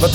Wat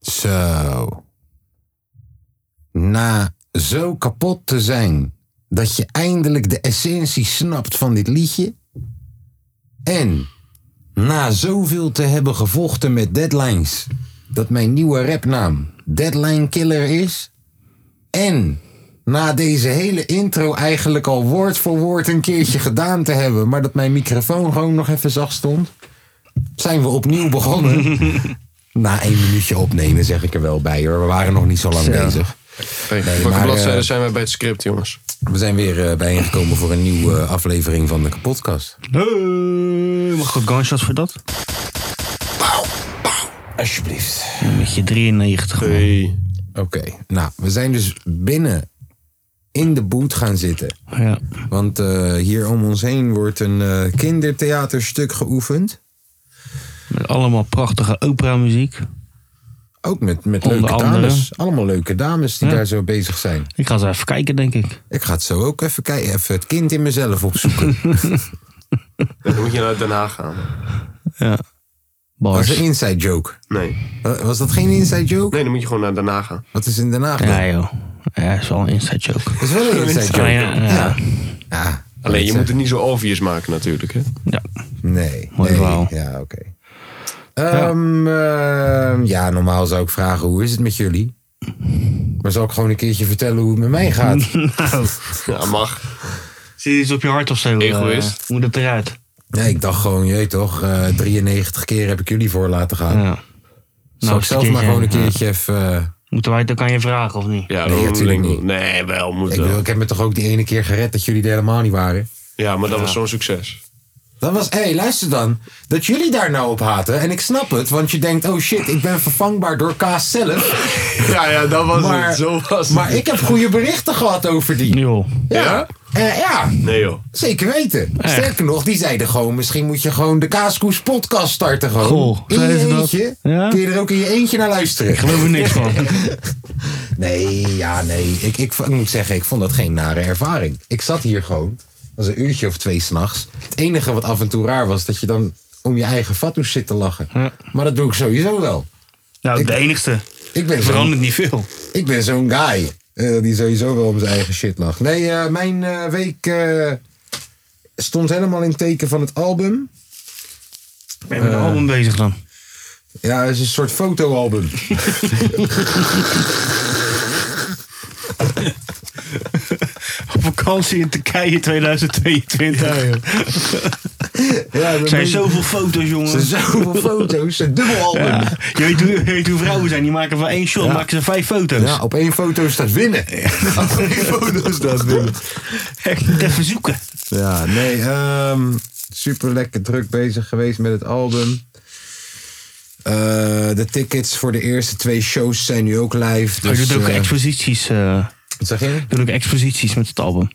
Zo. Na zo kapot te zijn dat je eindelijk de essentie snapt van dit liedje. En na zoveel te hebben gevochten met deadlines dat mijn nieuwe rapnaam Deadline Killer is. En na deze hele intro eigenlijk al woord voor woord een keertje gedaan te hebben, maar dat mijn microfoon gewoon nog even zacht stond, zijn we opnieuw begonnen. Na één minuutje opnemen zeg ik er wel bij hoor. We waren nog niet zo lang bezig. Hey, welke maar, bladzijde eh, zijn wij bij het script, jongens? We zijn weer eh, bijeengekomen voor een nieuwe eh, aflevering van de podcast. Hey, mag ik een gunshot voor dat? Alsjeblieft. Met je 93. man. Hey. Oké, nou, we zijn dus binnen in de boot gaan zitten. Ja. Want eh, hier om ons heen wordt een eh, kindertheaterstuk geoefend. Met allemaal prachtige opera-muziek. Ook met, met Onder leuke andere. dames. Allemaal leuke dames die Ja. daar zo bezig zijn. Ik ga ze even kijken, denk ik. Ik ga het zo ook even kijken. Even het kind in mezelf opzoeken. Dan moet je naar Den Haag gaan. Ja. Dat was Bars. een inside joke. Nee. Eh, Was dat geen inside joke? Nee, dan moet je gewoon naar Den Haag gaan. Wat is in Den Haag dan? Ja, joh. Ja, is wel een inside joke. Dat is wel een inside joke. Ah, ja, ja. Ja. Alleen, je moet het niet zo obvious maken natuurlijk, hè? ja. Nee. Mooi nee. verhaal. Ja, oké. Ehm, ehm, ja, normaal zou ik vragen hoe is het met jullie? Maar zal ik gewoon een keertje vertellen hoe het met mij gaat? Ja, mag. Zie je iets op je hart of zo? Egoïst. eh, Moet het eruit? Nee, ik dacht gewoon, je weet toch, eh, 93 keer heb ik jullie voor laten gaan. Ja. Zal ik Nou, eens een zelf maar keertje, gewoon een ja. keertje even... eh, Moeten wij het ook aan je vragen of niet? Ja, Nee, dan- natuurlijk niet. Nee, wel, moet ik, bedoel, wel. ik heb me toch ook die ene keer gered dat jullie er helemaal niet waren? Ja, maar dat was zo'n succes. Dat was, hé, hey, luister dan. Dat jullie daar nou op haten. En ik snap het, want je denkt, oh shit, ik ben vervangbaar door Kaas zelf. Ja, ja, dat was Maar, maar ik heb goede berichten gehad over die. Joh. Ja. Eh, ja, Nee, joh. zeker weten. Sterker nog, die zeiden gewoon: misschien moet je gewoon de Kaaskoes podcast starten. Gewoon. Goh, in zeiden ze je dat? eentje. Ja? Kun je er ook in je eentje naar luisteren? Ik geloof er niks van. Nee, ja, nee. Ik, ik, v- ik moet zeggen, ik vond dat geen nare ervaring. Ik zat hier gewoon. Dat was een uurtje of twee s'nachts. Het enige wat af en toe raar was, dat je dan om je eigen fatsoes zit te lachen. Ja. Maar dat doe ik sowieso wel. Nou, de enigste. Ik ben zo'n Verandert niet veel. Ik ben zo'n guy. eh, die sowieso wel om zijn eigen shit lacht. Nee, eh, mijn eh, week eh, stond helemaal in het teken van het album. Ben je met een album bezig dan? Ja, het is een soort fotoalbum. Op vakantie in Turkije 2022. Ja, Er zijn zoveel foto's, jongen. zoveel foto's. Een dubbelalbum. Ja. Ja. Je, weet hoe, je weet hoe vrouwen zijn. Die maken van één shot maken ze vijf foto's. op één foto staat winnen. Dus Op één foto staat winnen. Echt, moet even zoeken. Ja, nee. ehm super lekker druk bezig geweest met het album. Eh, de tickets voor de eerste twee shows zijn nu ook live. Maar Dus, je doet ook eh, exposities. eh wat zeg je? doet ook exposities met het album.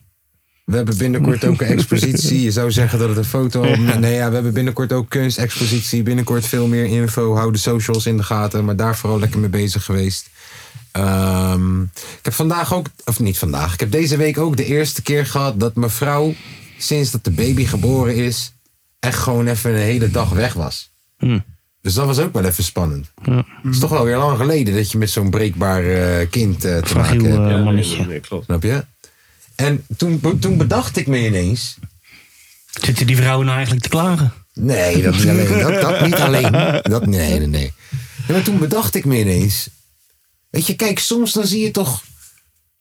We hebben binnenkort ook een expositie. Je zou zeggen dat het een foto. Nee, ja, we hebben binnenkort ook kunstexpositie. Binnenkort veel meer info. Hou de socials in de gaten. Maar daar vooral lekker mee bezig geweest. Ehm, ik heb vandaag ook, of niet vandaag, ik heb deze week ook de eerste keer gehad dat mijn vrouw, sinds dat de baby geboren is, echt gewoon even een hele dag weg was. Dus dat was ook wel even spannend. Het is toch wel weer lang geleden dat je met zo'n breekbaar eh, kind eh, te Fragiel maken hebt. eh, Ja, nee, mannetje. Nee, klopt. Snap je? En toen, toen bedacht ik me ineens. Zitten die vrouwen nou eigenlijk te klagen? Nee, dat niet alleen. Dat, dat niet alleen. Dat, nee, nee, nee. Ja, maar toen bedacht ik me ineens. Weet je, kijk, soms dan zie je toch.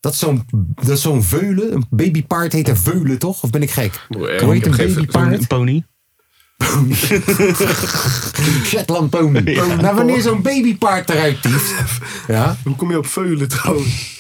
Dat zo'n, dat zo'n veulen, een babypaard heet een veulen toch? Of ben ik gek? Hoe erg, Hoe ik heet een heb geen- babypaard? Een pony. Shetland pony. Nou, wanneer zo'n babypaard eruit tieft. Ja, Hoe kom je op veulen trouwens?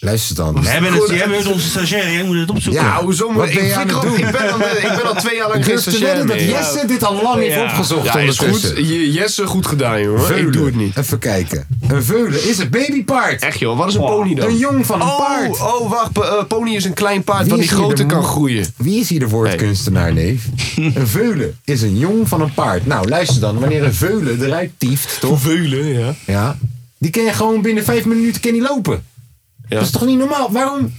Luister dan. We hebben het, jij bent onze stagiair, jij moet het opzoeken. Ja. Nou, Ja, hoezo? Wat moet- ben je ik, aan vind het al- doen? ik, ben al, ik ben al twee jaar lang Ik geen durf te stagiair wedden dat meer. Jesse dit al lang heeft opgezocht Ja, is goed. ondertussen. Je- Jesse, goed gedaan, jongen. Ik doe het niet. Even kijken. Een veulen is een babypaard. Echt, joh. Wat is een pony dan? Een jong van een oh, paard. Oh, wacht. eh, pony is een klein paard wat is niet hier groter de kan mo- groeien. Wie is hier de woordkunstenaar, neef? een veulen is een jong van een paard. Nou, luister dan. Wanneer een veulen eruit tieft, toch? Veulen, ja. Ja. Die kan je gewoon binnen vijf minuten kan die lopen. Ja. Dat is toch niet normaal? Waarom?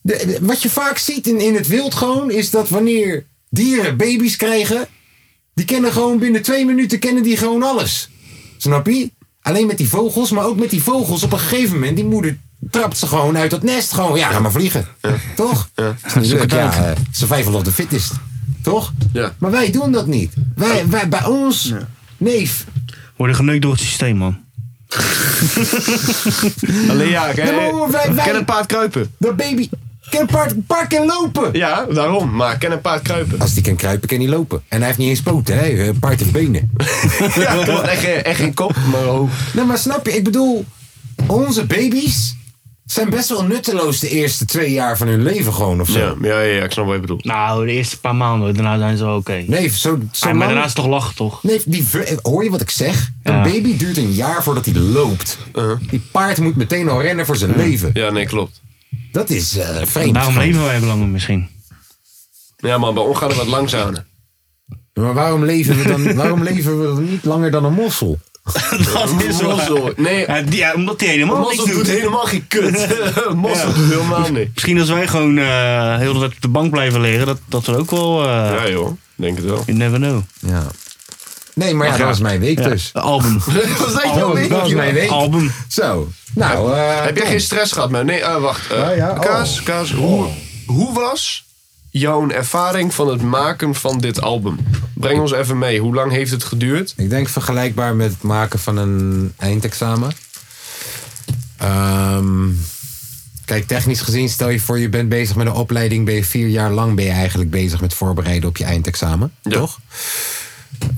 De- de- wat je vaak ziet in, in het wild gewoon, is dat wanneer dieren baby's krijgen, die kennen gewoon binnen twee minuten kennen die gewoon alles. Snap je? Alleen met die vogels, maar ook met die vogels. Op een gegeven moment, die moeder trapt ze gewoon uit dat nest. Gewoon, ja, ga maar vliegen. Toch? Ja. het ja, uit. eh, survival of the fittest. Toch? Ja. Maar wij doen dat niet. Wij, wij bij ons, neef, Worden geneukt door het systeem, man. Alleen ja, kijk. eh, Ja, maar hoor, wij- wij- Ken een paard kruipen. dat baby kan een paard, een paard kan lopen. Ja, daarom. Maar ken een paard kruipen. Als die kan kruipen, kan hij lopen. En hij heeft niet eens poten, hè? Een paard heeft benen. Ja, klopt. echt, geen- echt geen kop, maar hoofd. Nee, maar snap je? Ik bedoel, onze baby's zijn best wel nutteloos de eerste twee jaar van hun leven gewoon of zo. Ja, ja, ja, ja, ik snap wat je bedoelt. Nou, de eerste paar maanden, daarna zijn ze wel oké. Nee, zo, zo Ah, maar lang- daarna is het toch lachen, toch? Nee, die, ver- hoor je wat ik zeg? Een Ja. baby duurt een jaar voordat hij loopt. Die paard moet meteen al rennen voor zijn leven. Ja, nee, klopt. Dat is eh vreemd. Daarom leven wij even langer misschien. Ja, maar bij ons gaat het wat langzamer. Maar waarom leven, we dan, waarom leven we dan niet langer dan een mossel? Dat is wel zo. Mossel. Nee, Ja, die- ja, omdat die helemaal niks Mossel doet doet. helemaal geen kut. Mossel doet helemaal niks. Misschien als wij gewoon eh heel de tijd op de bank blijven liggen, dat, dat we ook wel... eh, Ja, joh. Denk het wel. You never know. Ja. Nee, maar ja, dat was mijn week dus. Ja, album. Was dat Oh, dat was mijn week. Album. Zo, nou... eh, Heb jij geen stress gehad? Maar nee, eh, wacht. eh, Ja, ja, oh. Kaas, Kaas hoe, hoe was jouw ervaring van het maken van dit album? Breng ons even mee. Hoe lang heeft het geduurd? Ik denk vergelijkbaar met het maken van een eindexamen. Ehm, kijk, technisch gezien, stel je voor je bent bezig met een opleiding, ben je vier jaar lang ben je eigenlijk bezig met voorbereiden op je eindexamen. Ja. Toch?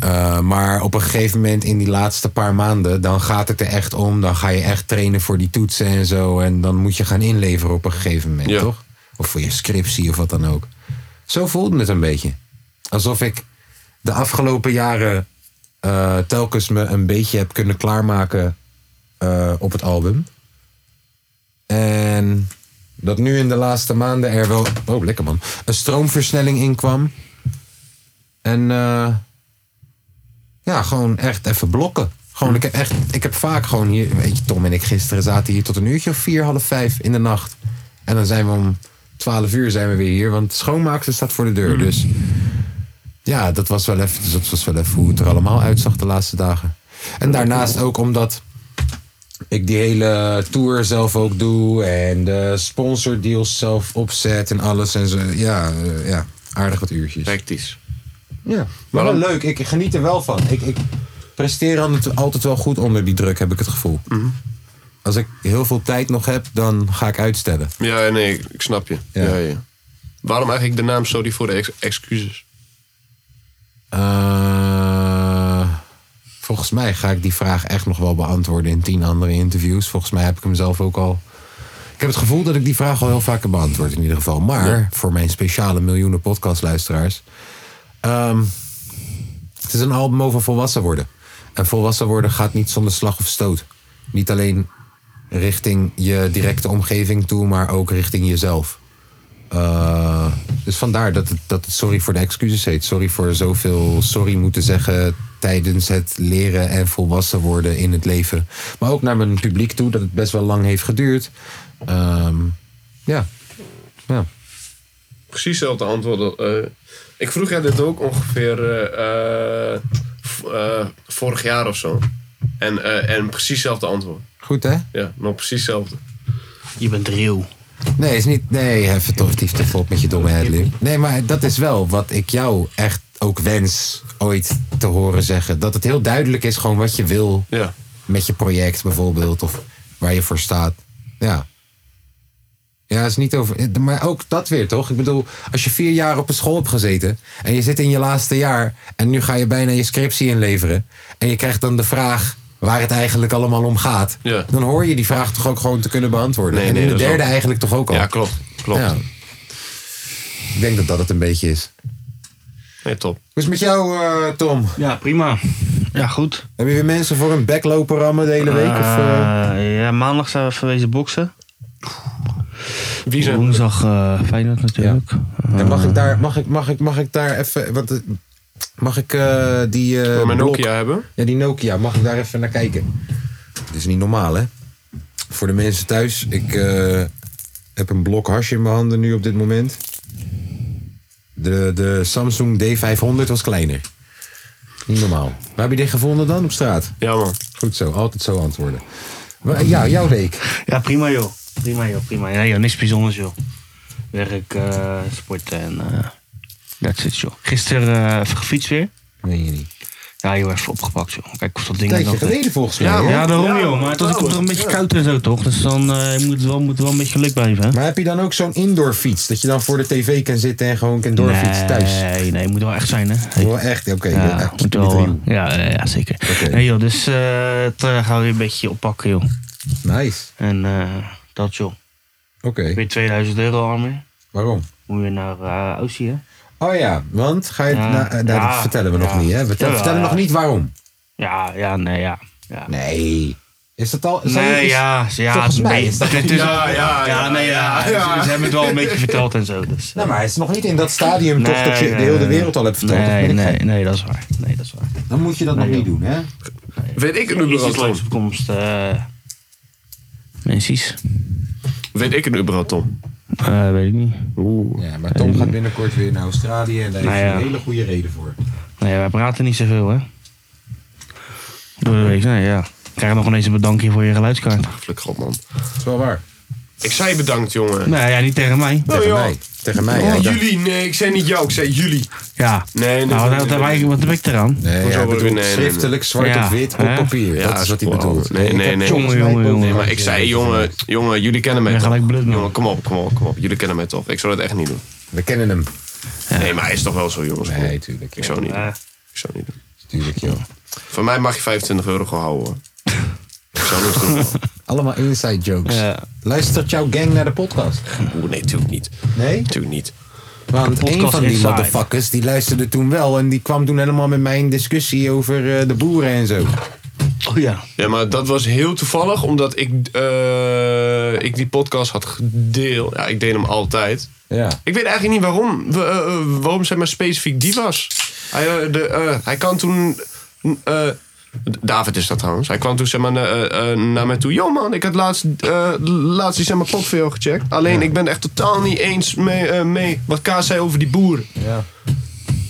Eh, maar op een gegeven moment in die laatste paar maanden, dan gaat het er echt om. Dan ga je echt trainen voor die toetsen en zo. En dan moet je gaan inleveren op een gegeven moment, Ja. toch? Of voor je scriptie of wat dan ook. Zo voelde het een beetje. Alsof ik de afgelopen jaren eh, telkens me een beetje heb kunnen klaarmaken eh, op het album. En dat nu in de laatste maanden er wel. Oh, lekker man. Een stroomversnelling in kwam. En eh, ja, gewoon echt even blokken. Gewoon, ik heb echt, ik heb vaak gewoon hier, weet je, Tom en ik gisteren zaten hier tot een uurtje of vier, half vijf in de nacht. En dan zijn we om twaalf uur zijn we weer hier, want schoonmaakster staat voor de deur. Dus ja, dat was, wel even, dus dat was wel even hoe het er allemaal uitzag de laatste dagen. En daarnaast ook omdat ik die hele tour zelf ook doe en de sponsordeals zelf opzet en alles en zo. Ja, eh, ja aardig wat uurtjes. Praktisch. Ja, maar wel leuk. Ik geniet er wel van. Ik, ik presteer al- altijd wel goed onder die druk, heb ik het gevoel. Als ik heel veel tijd nog heb, dan ga ik uitstellen. Ja, nee, ik snap je. Ja. Ja. Ja, Waarom eigenlijk de naam Sorry voor de ex- excuses? Eh, volgens mij ga ik die vraag echt nog wel beantwoorden in tien andere interviews. Volgens mij heb ik hem zelf ook al. Ik heb het gevoel dat ik die vraag al heel vaak heb beantwoord in ieder geval. Maar voor mijn speciale miljoenen podcastluisteraars. ehm, het is een album over volwassen worden. En volwassen worden gaat niet zonder slag of stoot. Niet alleen richting je directe omgeving toe, maar ook richting jezelf. Eh, dus vandaar dat het, dat het sorry voor de excuses heet. Sorry voor zoveel sorry moeten zeggen tijdens het leren en volwassen worden in het leven. Maar ook naar mijn publiek toe, dat het best wel lang heeft geduurd. Ehm, ja. ja. Precies hetzelfde antwoord. eh, ik vroeg jij dit ook ongeveer eh, eh, v- eh, vorig jaar of zo. En, eh, en precies hetzelfde antwoord. Goed hè? Ja, nog precies hetzelfde. Je bent real. Nee, is niet. Nee, even toch liefst even op met je domme headlip. Nee, maar dat is wel wat ik jou echt ook wens ooit te horen zeggen. Dat het heel duidelijk is gewoon wat je wil Ja. met je project bijvoorbeeld. Of waar je voor staat. Ja. Ja, is niet over. Maar ook dat weer, toch? Ik bedoel, als je vier jaar op een school hebt gezeten. en je zit in je laatste jaar. en nu ga je bijna je scriptie inleveren. en je krijgt dan de vraag. waar het eigenlijk allemaal om gaat, Ja. dan hoor je die vraag toch ook gewoon te kunnen beantwoorden. Nee, en nee, in de dat is derde ook- eigenlijk toch ook al. Ja, klopt. Klopt. Ja. Ik denk dat dat het een beetje is. Nee, top. Hoe is het met jou, eh, Tom? Ja, prima. Ja, goed. Heb je weer mensen voor een bek lopen rammen de hele week? of, eh? Eh, ja, maandag zijn we verwezen boksen. Wie zijn Woensdag eh Feyenoord natuurlijk. En mag ik daar, mag ik, mag ik, mag ik daar even, want eh, mag ik eh, die eh, we mijn blok- Nokia hebben? ja die Nokia, mag ik daar even naar kijken? Dit is niet normaal, hè? Voor de mensen thuis, ik eh, heb een blok hasje in mijn handen nu op dit moment. De, de Samsung D500 was kleiner. Niet normaal. Waar heb je dit gevonden dan op straat? Ja, man. Goed zo, altijd zo antwoorden. Maar, eh, Ja, jouw week. Ja, prima joh. Prima joh, prima. Ja, joh, niks bijzonders joh. Werk, eh, sporten en eh that's it joh. Gisteren eh, even gefietst weer. Meen je niet. Ja, heel even opgepakt joh. Kijk of dat ding Tijdje nog- geleden volgens mij. Ja, hè? man. Ja, daarom Ja, joh. Maar dat komt er een beetje koud en zo toch? Dus dan eh, je moet wel, moet wel een beetje geluk blijven hè? Maar heb je dan ook zo'n indoor fiets? Dat je dan voor de tv kan zitten en gewoon kan doorfietsen thuis? Nee, nee, moet wel echt zijn hè. Hey. Wel echt, oké. wel Ja, echt moet keep it wel, eh, real. ja, ja, ja, zeker. Oké. Nee joh, dus eh het eh, gaan we weer een beetje oppakken joh. Nice. En eh, dat joh. Oké, Weer 2000 euro armer. waarom? Moet je naar eh Aussie hè? Oh ja, want ga je. Ja. nou, eh, nou, dat Ja. vertellen we nog Ja. niet, hè? Vertel, Jawel, vertellen we ja. nog niet waarom. Ja, ja, nee, ja. ja. Nee. Is dat al. zijn- Nee, is- ja, ja. volgens mij nee, is dat- het is- Ja, ja, ja, nee, ja. ja. Ze, ze hebben het wel een beetje verteld en zo. Dus. Nou, maar het is nog niet in dat stadium toch dat je Nee, de hele nee, wereld al hebt verteld. dat Nee, ben ik nee, gek. nee, dat is waar. Nee, dat is waar. Dan moet je dat nog niet doen, hè? Weet ik het Is iets überhaupt, Tom? leuks op komst, eh Mensies? Weet ik het überhaupt, Tom? Eh, weet ik niet. Oeh. Ja, maar Tom gaat binnenkort weer naar Australië en daar heeft Nou hij een ja. hele goede reden voor. Nee, wij praten niet zoveel, hè? Door de week, nee, ja. Krijg nog ineens een bedankje voor je geluidskaart. Gelukkig, God, man. Dat is wel waar. Ik zei bedankt, jongen. Nee, ja, niet tegen mij. Oh, Tegen ja. mij. Tegen mij. ja, Oh, ik dacht- jullie. Nee, ik zei niet jou. Ik zei jullie. Ja. Nee, nee, Nou, nee, wat, nee, wat, nee. wat heb ik eraan? Nee, Hoezo hij worden we- bedoelt nee, nee, nee. schriftelijk zwart Ja, op wit op hè? papier. Ja, dat is wat hij wow. bedoelt. Nee, Ik nee, heb nee. volgens Jongen, mij jongen, boven- Nee, maar ik zei, jongen, jongen, jullie kennen mij Ja, toch? gelijk blut, man. jongen, kom op, kom op, kom op. Jullie kennen mij toch? Ik zou dat echt niet doen. We kennen hem. Nee, maar hij is toch wel zo, jongens. Nee, tuurlijk. Ik joh. zou het niet doen. Eh. Ik zou het niet doen. Tuurlijk, joh. Van mij mag je 25 euro gewoon houden, hoor. Ik zou nooit doen. Allemaal inside jokes. Ja. Luistert jouw gang naar de podcast? Oeh, nee, natuurlijk niet. Nee? Natuurlijk niet. Want podcast een van die inside. motherfuckers die luisterde toen wel en die kwam toen helemaal met mij in discussie over eh, de boeren en zo. Oh ja. Ja, maar dat was heel toevallig, omdat ik, eh, ik die podcast had gedeeld. Ja, ik deed hem altijd. Ja. Ik weet eigenlijk niet waarom. We, eh, eh, waarom zeg maar specifiek die was. Hij, eh, de, eh, hij kan toen. eh, David is dat trouwens. Hij kwam toen zeg maar, na- eh, eh, naar mij toe. Yo man, ik had laatst, eh, laatst die zeg maar, pop voor jou gecheckt. Alleen ik ben het echt totaal niet eens mee, eh, mee wat Kaas zei over die boeren. ja.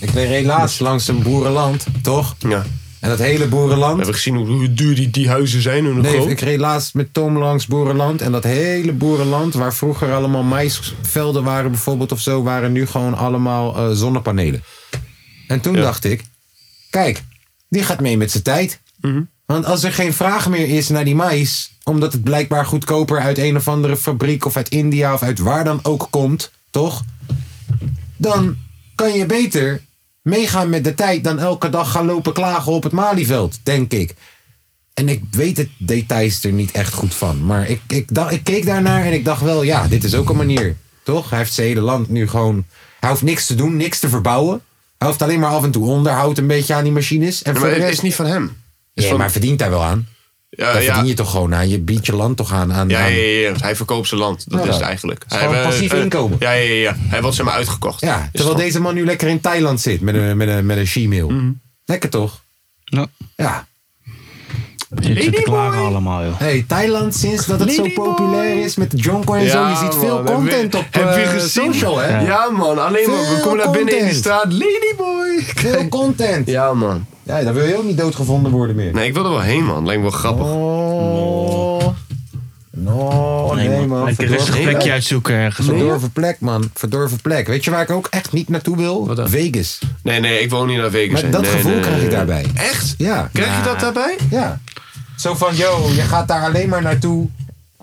Ik reed helaas langs een boerenland, toch? Ja. En dat hele We boerenland. hebben gezien hoe, hoe duur die, die huizen zijn en hoe Nee, groot. ik reed laatst met Tom langs boerenland en dat hele boerenland waar vroeger allemaal maïsvelden waren bijvoorbeeld of zo, waren nu gewoon allemaal eh, zonnepanelen. En toen Ja. dacht ik, kijk, die gaat mee met zijn tijd. Mhm. Want als er geen vraag meer is naar die mais, omdat het blijkbaar goedkoper uit een of andere fabriek of uit India of uit waar dan ook komt, toch? Dan kan je beter meegaan met de tijd dan elke dag gaan lopen klagen op het Malieveld, denk ik. En ik weet het details er niet echt goed van. Maar ik, ik, dacht, ik keek daarnaar en ik dacht wel, ja, dit is ook een manier. Toch? Hij heeft zijn hele land nu gewoon. Hij hoeft niks te doen, niks te verbouwen. Hij hoeft alleen maar af en toe onderhoud een beetje aan die machines. En Ja, voor maar de het rest- is niet van hem. Het is ja, van- maar verdient hij wel aan? ja, Daar ja. verdien je toch gewoon aan? Je biedt je land toch aan? aan, Ja, aan- ja, ja, ja. hij verkoopt zijn land. Dat Ja. is het eigenlijk. is gewoon Hij, eh, passief eh, inkomen. Ja, ja, ja, ja. Hij wordt zeg maar uitgekocht. Ja, Is terwijl van- Mhm. deze man nu lekker in Thailand zit met een, met een, met een she-mail. Lekker toch? Nou, Ja. zitten te klagen allemaal joh. Hey, Thailand, sinds dat het zo populair is met de jonko en zo, je ziet veel man. Heb je- content op heb je eh, gezien? social, hè? Ja, man, alleen maar, we Veel komen naar binnen in die content. straat, ladyboy. Veel content. Ja. Ja man. dan wil je ook niet doodgevonden worden meer. Nee, ik wil er wel heen man, lijkt me wel grappig. Oh. No, nee, man. Lekker Verdorven rustig plek. plekje uitzoeken ergens. hoor. Verdorven plek, man. Verdorven plek. Weet je waar ik ook echt niet naartoe wil? Wat dan? Vegas. Nee, nee, ik woon niet naar Vegas. Maar heen. dat Nee, gevoel nee, krijg nee. ik daarbij. Echt? Ja. Krijg je dat daarbij? Ja. Zo van, yo, je gaat daar alleen maar naartoe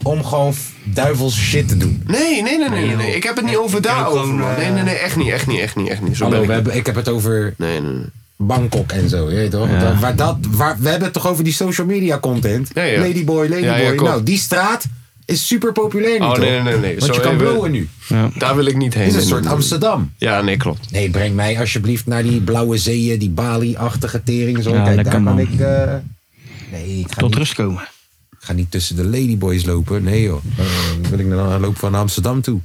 om gewoon f- duivels shit te doen. Nee, nee, nee, nee, nee, nee. Ik heb het niet over Ik heb ook daarover gewoon, man. eh, Nee, nee, nee, echt niet, echt niet, echt niet, echt niet. Zo Hallo, we ben ik. hebben, ik heb het over Nee, nee, nee. Bangkok en zo. Je weet toch? Dat, waar dat, waar, we hebben het toch over die social media content. Ja, ja. Ladyboy, Ladyboy. Ja, ja, klopt. nou, die straat is super populair nu Oh, toch? nee, nee, nee. Want Zo je kan even- blowen nu. Daar wil ik niet heen. Het is een Nee, soort nee, nee. Amsterdam. Ja, nee, klopt. Nee, breng mij alsjeblieft naar die blauwe zeeën, die Bali-achtige tering. Zo. Ja, Kijk, lekker, daar kan man. ik... eh, nee, ik ga, Tot niet, rust komen. ik ga niet tussen de ladyboys lopen. Nee joh, Eh, dan wil ik dan lopen van Amsterdam toe.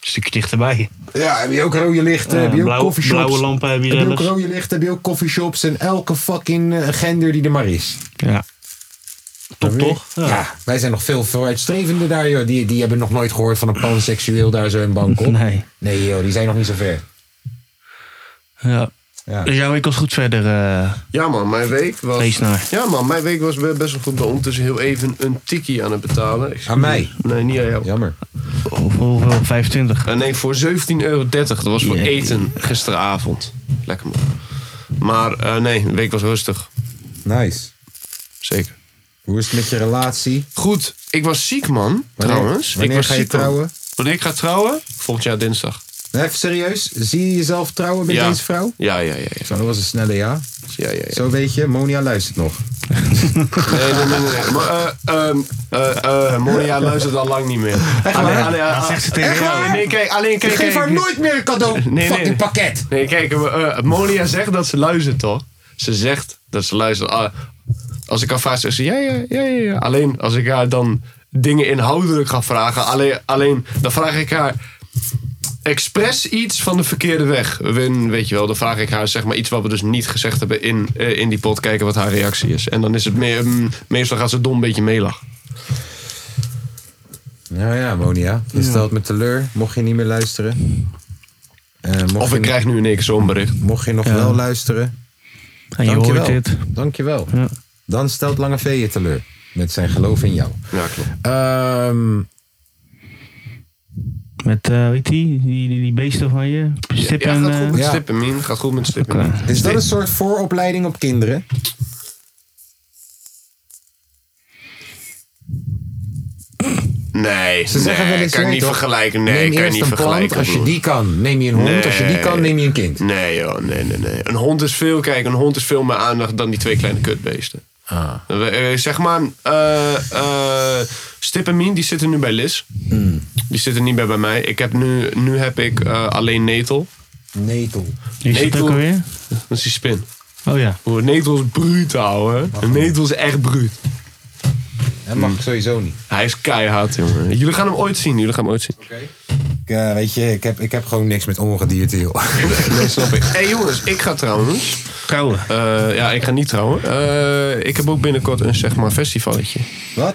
stukje dichterbij. Ja, heb je ook rode lichten, Ja, heb je ook blauw- coffeeshops. blauwe lampen heb je je ook zelfs. rode lichten, heb je ook coffeeshops en elke fucking eh, gender die er maar is. Ja. Top toch? Ja. wij zijn nog veel vooruitstrevender daar, joh. Die, die hebben nog nooit gehoord van een panseksueel daar zo in Bangkok. Nee. Nee, joh, die zijn nog niet zo ver. Ja. Ja. Dus jouw week was goed verder. eh, Ja man, mijn week was... Lees naar. Ja man, mijn week was be- best wel goed. Ik ben ondertussen heel even een tikkie aan het betalen. Excuus. Aan mij? Nee, niet aan jou. Jammer. hoeveel? 25. Eh, nee, voor 17,30 euro. Dat was voor Jee. eten gisteravond. Lekker man. Maar eh, nee, de week was rustig. Nice. Zeker. Hoe is het met je relatie? Goed, ik was ziek man, trouwens. wanneer ik was ga je ziek, man. trouwen? Wanneer ik ga trouwen? Volgend jaar dinsdag. Nee, Even serieus, zie je jezelf trouwen met ja. deze vrouw? Ja, ja, ja. ja. Zo, dat was een snelle ja. ja, ja, ja. Zo weet je, Monia luistert nog. Nee, nee, nee. nee, nee. Maar, eh, ehm, eh, eh, Monia luistert al lang niet meer. Alleen, alleen, Dat alleen, zegt ze tegen jou. nee, kijk, alleen, kijk, Geef kijk. haar nooit meer een cadeau, nee. fucking pakket. Nee, kijk, eh, eh, Monia zegt dat ze luistert, toch? Ze zegt dat ze luistert. Ah, als ik haar vraag, zegt ze ja, ja, ja, ja, ja. Alleen als ik haar dan dingen inhoudelijk ga vragen, alleen, alleen dan vraag ik haar expres iets van de verkeerde weg. Win, weet je wel, dan vraag ik haar zeg maar iets wat we dus niet gezegd hebben in, eh, in die pot, kijken wat haar reactie is. En dan is het meer, mm, meestal gaat ze dom een beetje meelachen. Nou ja, Monia, je stelt me teleur. Mocht je niet meer luisteren. Eh, mocht, Of je, ik krijg nu in één keer zo'n bericht. mocht je nog wel luisteren. En je hoort dit. Dankjewel. Dan stelt Lange V je teleur. Met zijn geloof in jou. Ja, klopt. Ehm, Met, eh, weet die, die, die, die beesten van je. Stip Ja, en... gaat goed eh, met ja. stippen, Mien. Gaat goed met stippen. Mien. is dat een soort vooropleiding op kinderen? Nee, Ze zeggen nee, wel eens, kan ik nee, niet toch? vergelijken. Nee, neem kan ik eerst niet een plant. vergelijken. Als je die kan, neem je een hond. Als je die kan, neem je een kind. Nee joh, nee, nee, nee. Een hond is veel, kijk, een hond is veel meer aandacht dan die twee kleine kutbeesten. We- eh, Zeg maar, eh eh, Stip en Mien, die zitten nu bij Liz. Die zitten niet meer bij mij. Ik heb nu, nu heb ik eh, alleen Netel. Netel. Wie is dat Netel. ook alweer? Dat is die spin. Oh ja. Broer, Netel is brutaal, hè. Netel is echt bruut. Dat mag Hmm. ik sowieso niet. Hij is keihard, jongen. Jullie gaan hem ooit zien, jullie gaan hem ooit zien. Ik, eh, weet je, ik heb, ik heb gewoon niks met ongedierte, joh. Dat snap ik. Hé hey, jongens, ik ga trouwens... Trouwen. Eh, ja, ik ga niet trouwen. Eh, ik heb ook binnenkort een zeg maar festivalletje. Wat?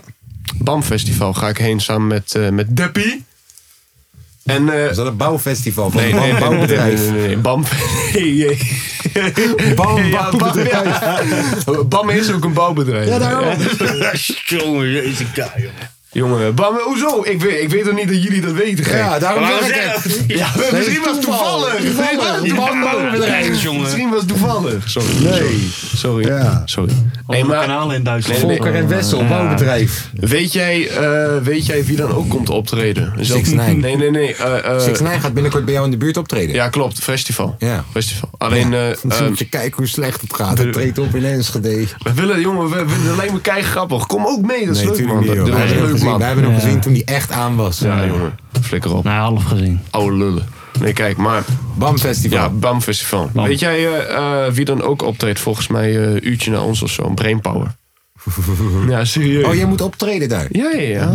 BAM Festival ga ik heen samen met, eh met Deppie. En eh, Is dat een bouwfestival van nee, een nee, nee, nee, nee, bouwbedrijf? nee, nee, nee, BAM. Nee, nee. Bam, Ja, BAM, ja. BAM is ook een bouwbedrijf. Ja, daarom. Jongen, jezus guy, jongen. Jongen, BAM, hoezo? Ik weet, ik weet toch niet dat jullie dat weten, gek? Ja, daarom Waarom zeg ik zeg het. je dat? Ja, misschien was het toeval. toevallig. Misschien was het Bam, bouwbedrijf, toevallig. jongen. Misschien was het toevallig. Sorry. Nee. Sorry. Ja. Sorry. Nee, Hey, maar- kanalen in Duitsland. Nee, nee, Volker en Wessel, Ja. bouwbedrijf. Weet jij, eh, weet jij wie dan ook komt optreden? Is dat- 6ix9ine. Nee, nee, nee. eh, eh, Six Nine gaat binnenkort bij jou in de buurt optreden. ja, klopt. Festival. Ja. Festival. Alleen, eh, Dan eh, moet je kijken hoe slecht het gaat. Het treedt op in Enschede. we willen, eh, jongen, we, we, dat lijkt me kei grappig. Kom ook mee, dat is leuk, man. We dat dat hebben is hem leuk, gezien, man. we hebben hem Ja. gezien toen hij echt aan was. Ja, jongen. Flikker op. Nou, half gezien. Oude lullen. Nee, kijk, maar... Bam Festival. Ja, Bam Festival. Bam. Weet jij eh, eh, wie dan ook optreedt? Volgens mij eh uurtje na ons of zo. Een Brainpower. ja, serieus. Oh, jij moet optreden daar. Ja, ja, ja.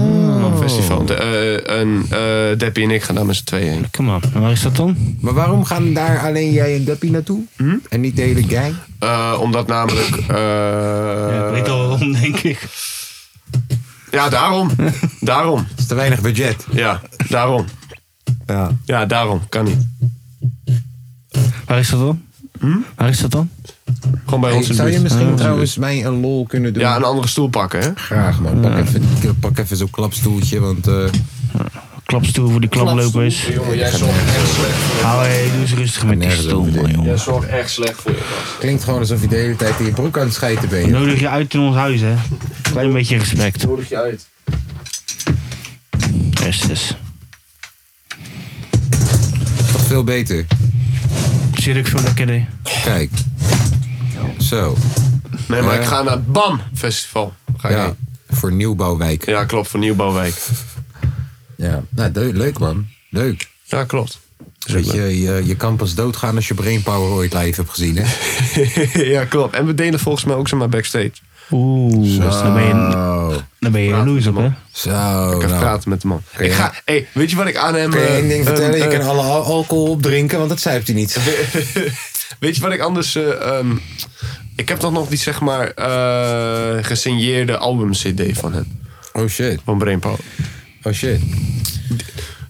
Bam Festival. De, eh, en eh, Deppie en ik gaan daar met z'n tweeën heen. Kom op. En waar is dat dan? Maar waarom gaan daar alleen jij en Guppy naartoe? Hm? En niet de hele gang? Eh, omdat namelijk. eh, Ja, ik weet al waarom, denk ik. ja, daarom. daarom. Dat is te weinig budget. Ja, daarom. Ja. Ja, daarom. Kan niet. Waar is dat dan? Hm? Waar is dat dan? Gewoon bij Hey, ons in de zou je buurt. misschien trouwens mij een lol kunnen doen? Ja, nou, een andere stoel pakken, hè? Graag man. Pak even, pak even zo'n klapstoeltje, want... eh, Klapstoel voor die klaplopers. Jongen, jij zorgt echt slecht voor je. Hou hey, doe eens rustig met die nergens stoel, over man, denken. Jij jongen. zorgt echt slecht voor je gast. klinkt gewoon alsof je de hele tijd in je broek aan het schijten bent. We Nodig je uit in ons huis, hè? Klein beetje respect. Nodig je uit. Justus. Toch veel beter. Zit ik zo lekker, hè? Kijk. Zo. Nee, maar Ja. ik ga naar het BAM Festival. Ga ik Ja, heen. voor Nieuwbouwwijk. ja, klopt, voor Nieuwbouwwijk. Ja. Nou, de- leuk man. Leuk. Ja, klopt. Weet je, je, je kan pas doodgaan als je Brainpower ooit live hebt gezien, hè? ja, klopt. En we delen volgens mij ook zomaar backstage. Oeh, dan ben je, Oh, dan ben je jaloers op, hè? zo. Ik ga even nou. praten met de man. Ik ga, hey, weet je wat ik aan hem... Kun je eh, één ding eh, vertellen? je eh, kan alle al- alcohol opdrinken, want dat zuipt hij niet. Weet je wat ik anders... eh, ehm, ik heb dan nog die, zeg maar, eh gesigneerde album-cd van hem. Oh shit, Van Brainpower. oh shit.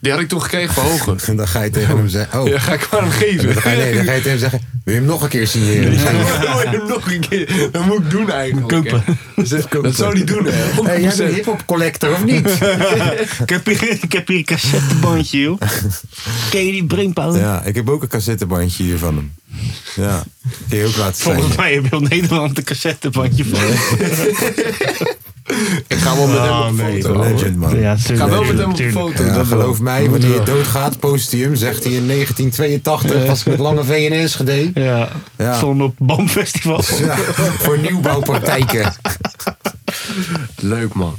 Die had ik toen gekregen van Hoger. En dan ga je tegen hem zeggen... Oh, Ja, ga ik maar hem geven. dan, ga je, nee, dan ga je tegen hem zeggen... Wil je hem nog een keer signeren? Ja, moet je hem nog een keer. Dat moet ik doen eigenlijk. Kopen. hè. Dus, eh, Kopen. Dat zou hij doen, hè? Hey, jij 100%. bent hip-hop collector, of niet? Ik heb hier, ik heb hier een cassettebandje, joh. Ken je die Brainpower? Ja, ik heb ook een cassettebandje hier van hem. Ja, die ook laten Volgens mij heb heel Nederland een cassettebandje van. Ik ga wel met hem op nee, de foto. man. Legend, man. Ja, tuurlijk, Ga wel met hem op de tuurlijk. foto. Ja, dat geloof wel. mij, wanneer je doodgaat, post hij hem, zegt hij in 1982 was ik met Lange VNS gedaan. Ja, Ja. stond op BAM-festival. Ja, voor nieuwbouwpraktijken. Leuk, man.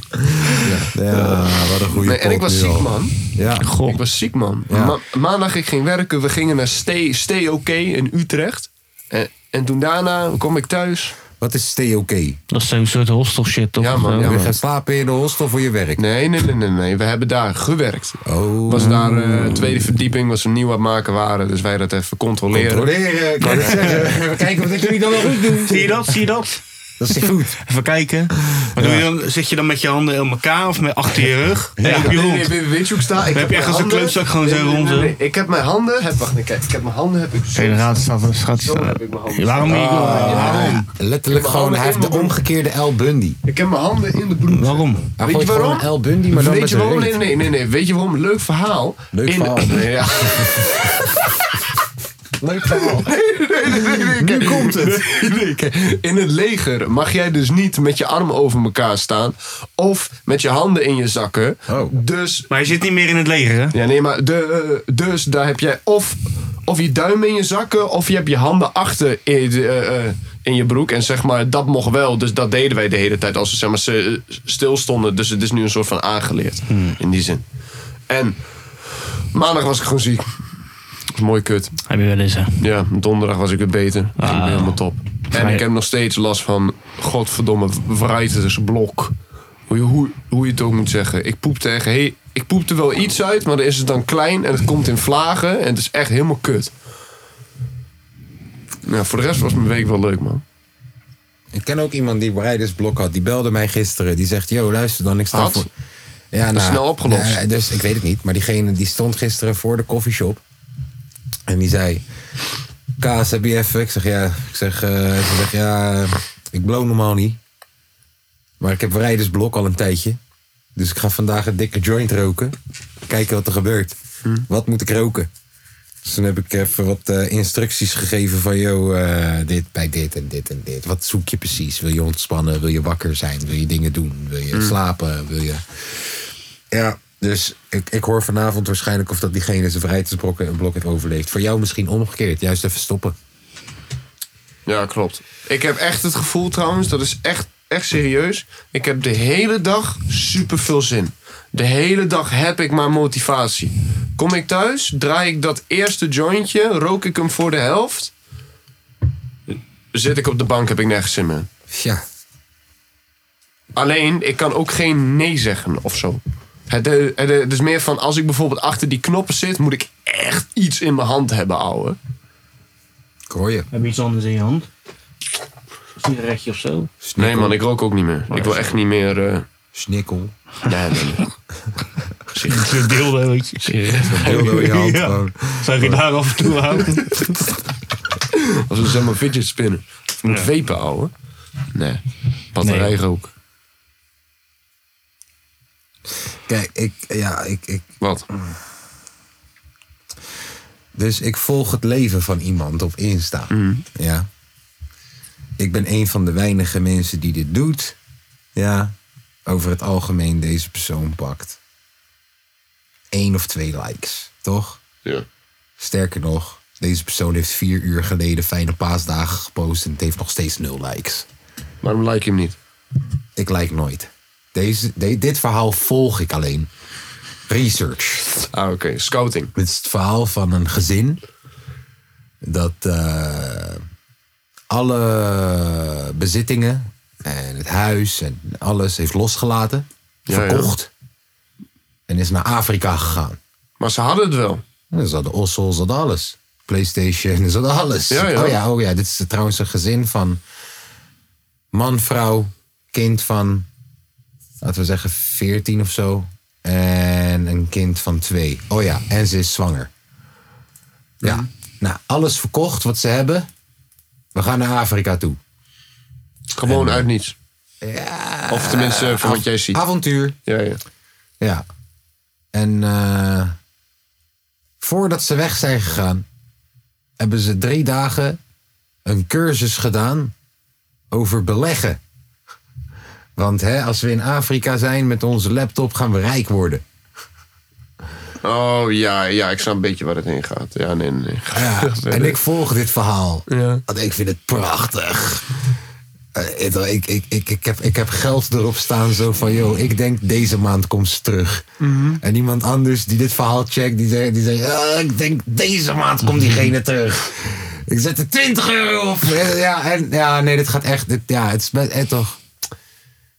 Ja, wat een goede Nee, en ik was ziek, man. Ja, Ik was ziek, man. Ma- maandag ik ging werken. We gingen naar Stay, Stay OK in Utrecht. En, en toen daarna kwam ik thuis. wat is stay oké? Dat is zo'n soort hostel shit, toch? Ja, man, Of zo. ja. Wil je gaan slapen in de hostel voor je werk? Nee, nee, nee, nee. nee. We hebben daar gewerkt. Oh, Was daar eh, tweede verdieping, wat ze nieuw aan het maken waren. Dus wij dat even controleren. controleren, ik wou net zeggen. We kijken wat jullie dan wel goed doen. Zie je dat? Zie je dat? Dat is goed. Even kijken. Wat doe je dan? Zit je dan met je handen in elkaar of met achter je rug? En op je Nee, nee, rond? nee, weet je hoe ik sta? Ik je echt mijn als een handen- klootzak gewoon zo rond, hè? Ik heb mijn handen... Heb, wacht, nee, kijk. Ik heb mijn handen... Heb ik zo, Oké, dan gaat staat een schatje zo staan. heb ik mijn handen. Waarom niet? Waarom? Letterlijk gewoon, hij heeft de omgekeerde L Bundy. Ik heb mijn handen in de broek. Waarom? Hij Weet gooit je waarom? gewoon L Bundy, maar dan Weet met je zijn waarom? reet. Nee, nee, nee, nee. Weet je waarom? Leuk verhaal. Leuk In- verhaal. Nee, ja. Leuk verhaal. Nu komt het. In het leger mag jij dus niet met je arm over elkaar staan. Of met je handen in je zakken. Oh. Dus, Maar je zit niet meer in het leger, hè? ja, nee, maar de, eh, dus daar heb jij of, of je duim in je zakken. Of je hebt je handen achter in, de, eh, eh, in je broek. En zeg maar, dat mocht wel. Dus dat deden wij de hele tijd. Als we zeg maar, ze- eh, stilstonden. Dus het is nu een soort van aangeleerd. In die zin. En maandag was ik gewoon ziek. Dat is mooi kut. Heb je wel eens, hè? Ja, donderdag was ik weer beter. Dus ik ben helemaal top. En Nee. ik heb nog steeds last van godverdomme writers blok. Hoe je, hoe, hoe je het ook moet zeggen. Ik poepte echt... Hey, ik poepte wel iets uit, maar dan is het dan klein en het komt in vlagen. En het is echt helemaal kut. Nou, voor de rest was mijn week wel leuk, man. Ik ken ook iemand die Breidersblok had. Die belde mij gisteren. Die zegt, yo, luister dan, ik sta Had? voor... Ja, nou, snel opgelost. ja, dus ik weet het niet. Maar diegene die stond gisteren voor de koffieshop. En die zei, Kaas, heb je even? Ik zeg, ja. Ik zeg, eh, ze zegt, ja, ik blow normaal niet. Maar ik heb Breidersblok al een tijdje. Dus ik ga vandaag een dikke joint roken. Kijken wat er gebeurt. Hm. Wat moet ik roken? Dus toen heb ik even wat eh, instructies gegeven van... Yo, eh, dit bij dit en dit en dit. Wat zoek je precies? Wil je ontspannen? Wil je wakker zijn? Wil je dingen doen? Wil Hm. je slapen? Wil je... Ja, dus ik, ik hoor vanavond waarschijnlijk... of dat diegene zijn vrijheidsbrokken een blok heeft overleefd. Voor jou misschien omgekeerd. Juist even stoppen. Ja, klopt. Ik heb echt het gevoel trouwens, dat is echt, echt serieus. Ik heb de hele dag super veel zin. De hele dag heb ik maar motivatie. Kom ik thuis, draai ik dat eerste jointje, rook ik hem voor de helft. Zit ik op de bank, heb ik nergens zin meer. Ja, Alleen, ik kan ook geen nee zeggen of zo. Het, eh, het, eh, het is meer van, als ik bijvoorbeeld achter die knoppen zit, moet ik echt iets in mijn hand hebben, ouwe. ik hoor je. Heb je iets anders in je hand? Een sigaretje of zo? Nee man, ik rook ook niet meer. Ik wil echt niet meer... eh, Snikkel. nee, nee, nee. Een dildo, weet je. Dildo in je hand Ja. gewoon. Zou je daar af en toe houden? Als we zeg maar fidget spinnen. Of moet Ja. vepen, ouwe. Nee. Batterijrook. Kijk, ik, ja, ik, ik, Wat? Dus ik volg het leven van iemand op Insta. Mm. Ja. Ik ben een van de weinige mensen die dit doet. Ja. Over het algemeen deze persoon pakt. Eén of twee likes, toch? Ja. Sterker nog, Deze persoon heeft vier uur geleden fijne paasdagen gepost en het heeft nog steeds nul likes. Waarom like je hem niet? Ik like nooit. Deze, de- dit verhaal volg ik alleen. Research. Ah, oké. Scouting. Dit is het verhaal van een gezin dat eh, alle bezittingen en het huis en alles heeft losgelaten, Ja, ja. verkocht en is naar Afrika gegaan. Maar ze hadden het wel. Ja, Ze hadden ossels, ze hadden alles. Playstation, ze hadden alles. Ja, ja. Oh ja, oh ja. Dit is trouwens een gezin van man, vrouw, kind van, laten we zeggen, 14 of zo. En een kind van twee. Oh ja, en ze is zwanger. Ja, Mhm. nou, alles verkocht wat ze hebben. We gaan naar Afrika toe. Gewoon uit niets. Of tenminste, eh, van wat jij ziet. Avontuur. Ja, ja. Ja. En eh, voordat ze weg zijn gegaan, hebben ze drie dagen een cursus gedaan over beleggen. Want hè, als we in Afrika zijn met onze laptop, gaan we rijk worden. Oh ja, ja, ik snap een beetje waar het heen gaat. Ja, nee, nee. nee. Ja, en ik volg dit verhaal. Ja. Want ik vind het prachtig. Eh, ik, ik, ik, ik, heb, ik heb geld erop staan zo van... joh, ik denk deze maand komt ze terug. En iemand anders die dit verhaal checkt... die zegt, die zegt "Ah, ik denk deze maand komt diegene terug. Ik zet er 20 euro op. Eh, Ja, en, ja nee, dit gaat echt... dit- ja, het is best... eh, toch,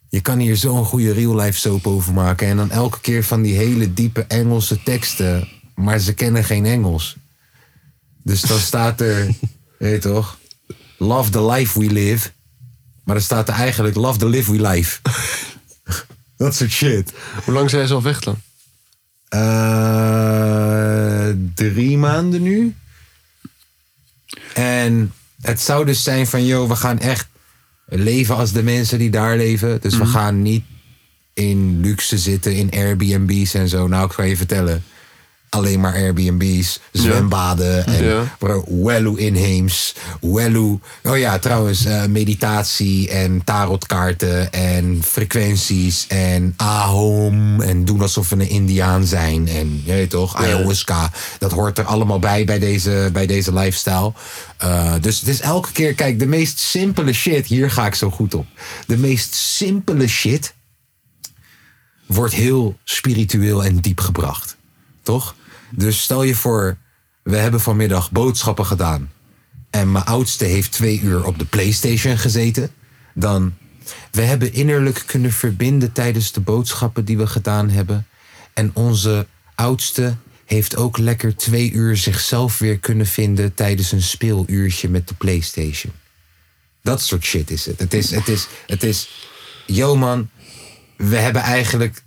je kan hier zo'n goede real-life soap over maken. En dan elke keer van die hele diepe Engelse teksten. Maar ze kennen geen Engels. Dus dan staat er, weet je toch? Love the life we live. Maar dan staat er eigenlijk love the live we life. Dat soort shit. Hoe lang zijn ze al weg dan? Eh, drie maanden nu. En het zou dus zijn van, joh, we gaan echt leven als de mensen die daar leven. Dus we gaan niet in luxe zitten, in Airbnbs en zo. Nou, ik ga je vertellen. Alleen maar Airbnbs, zwembaden en Ja. bro, Wellu inheems, Wellu... Oh ja, trouwens, eh, meditatie en tarotkaarten en frequenties en ahom en doen alsof we een indiaan zijn en, je weet toch, ayahuasca. Dat hoort er allemaal bij, bij deze, bij deze lifestyle. Eh, dus het is elke keer, kijk, de meest simpele shit, hier ga ik zo goed op. De meest simpele shit wordt heel spiritueel en diep gebracht. Toch? Dus stel je voor, we hebben vanmiddag boodschappen gedaan. En mijn oudste heeft twee uur op de PlayStation gezeten. Dan, we hebben innerlijk kunnen verbinden tijdens de boodschappen die we gedaan hebben. En onze oudste heeft ook lekker twee uur zichzelf weer kunnen vinden tijdens een speeluurtje met de PlayStation. Dat soort shit is het. Het is, het is, het is, yo man, we hebben eigenlijk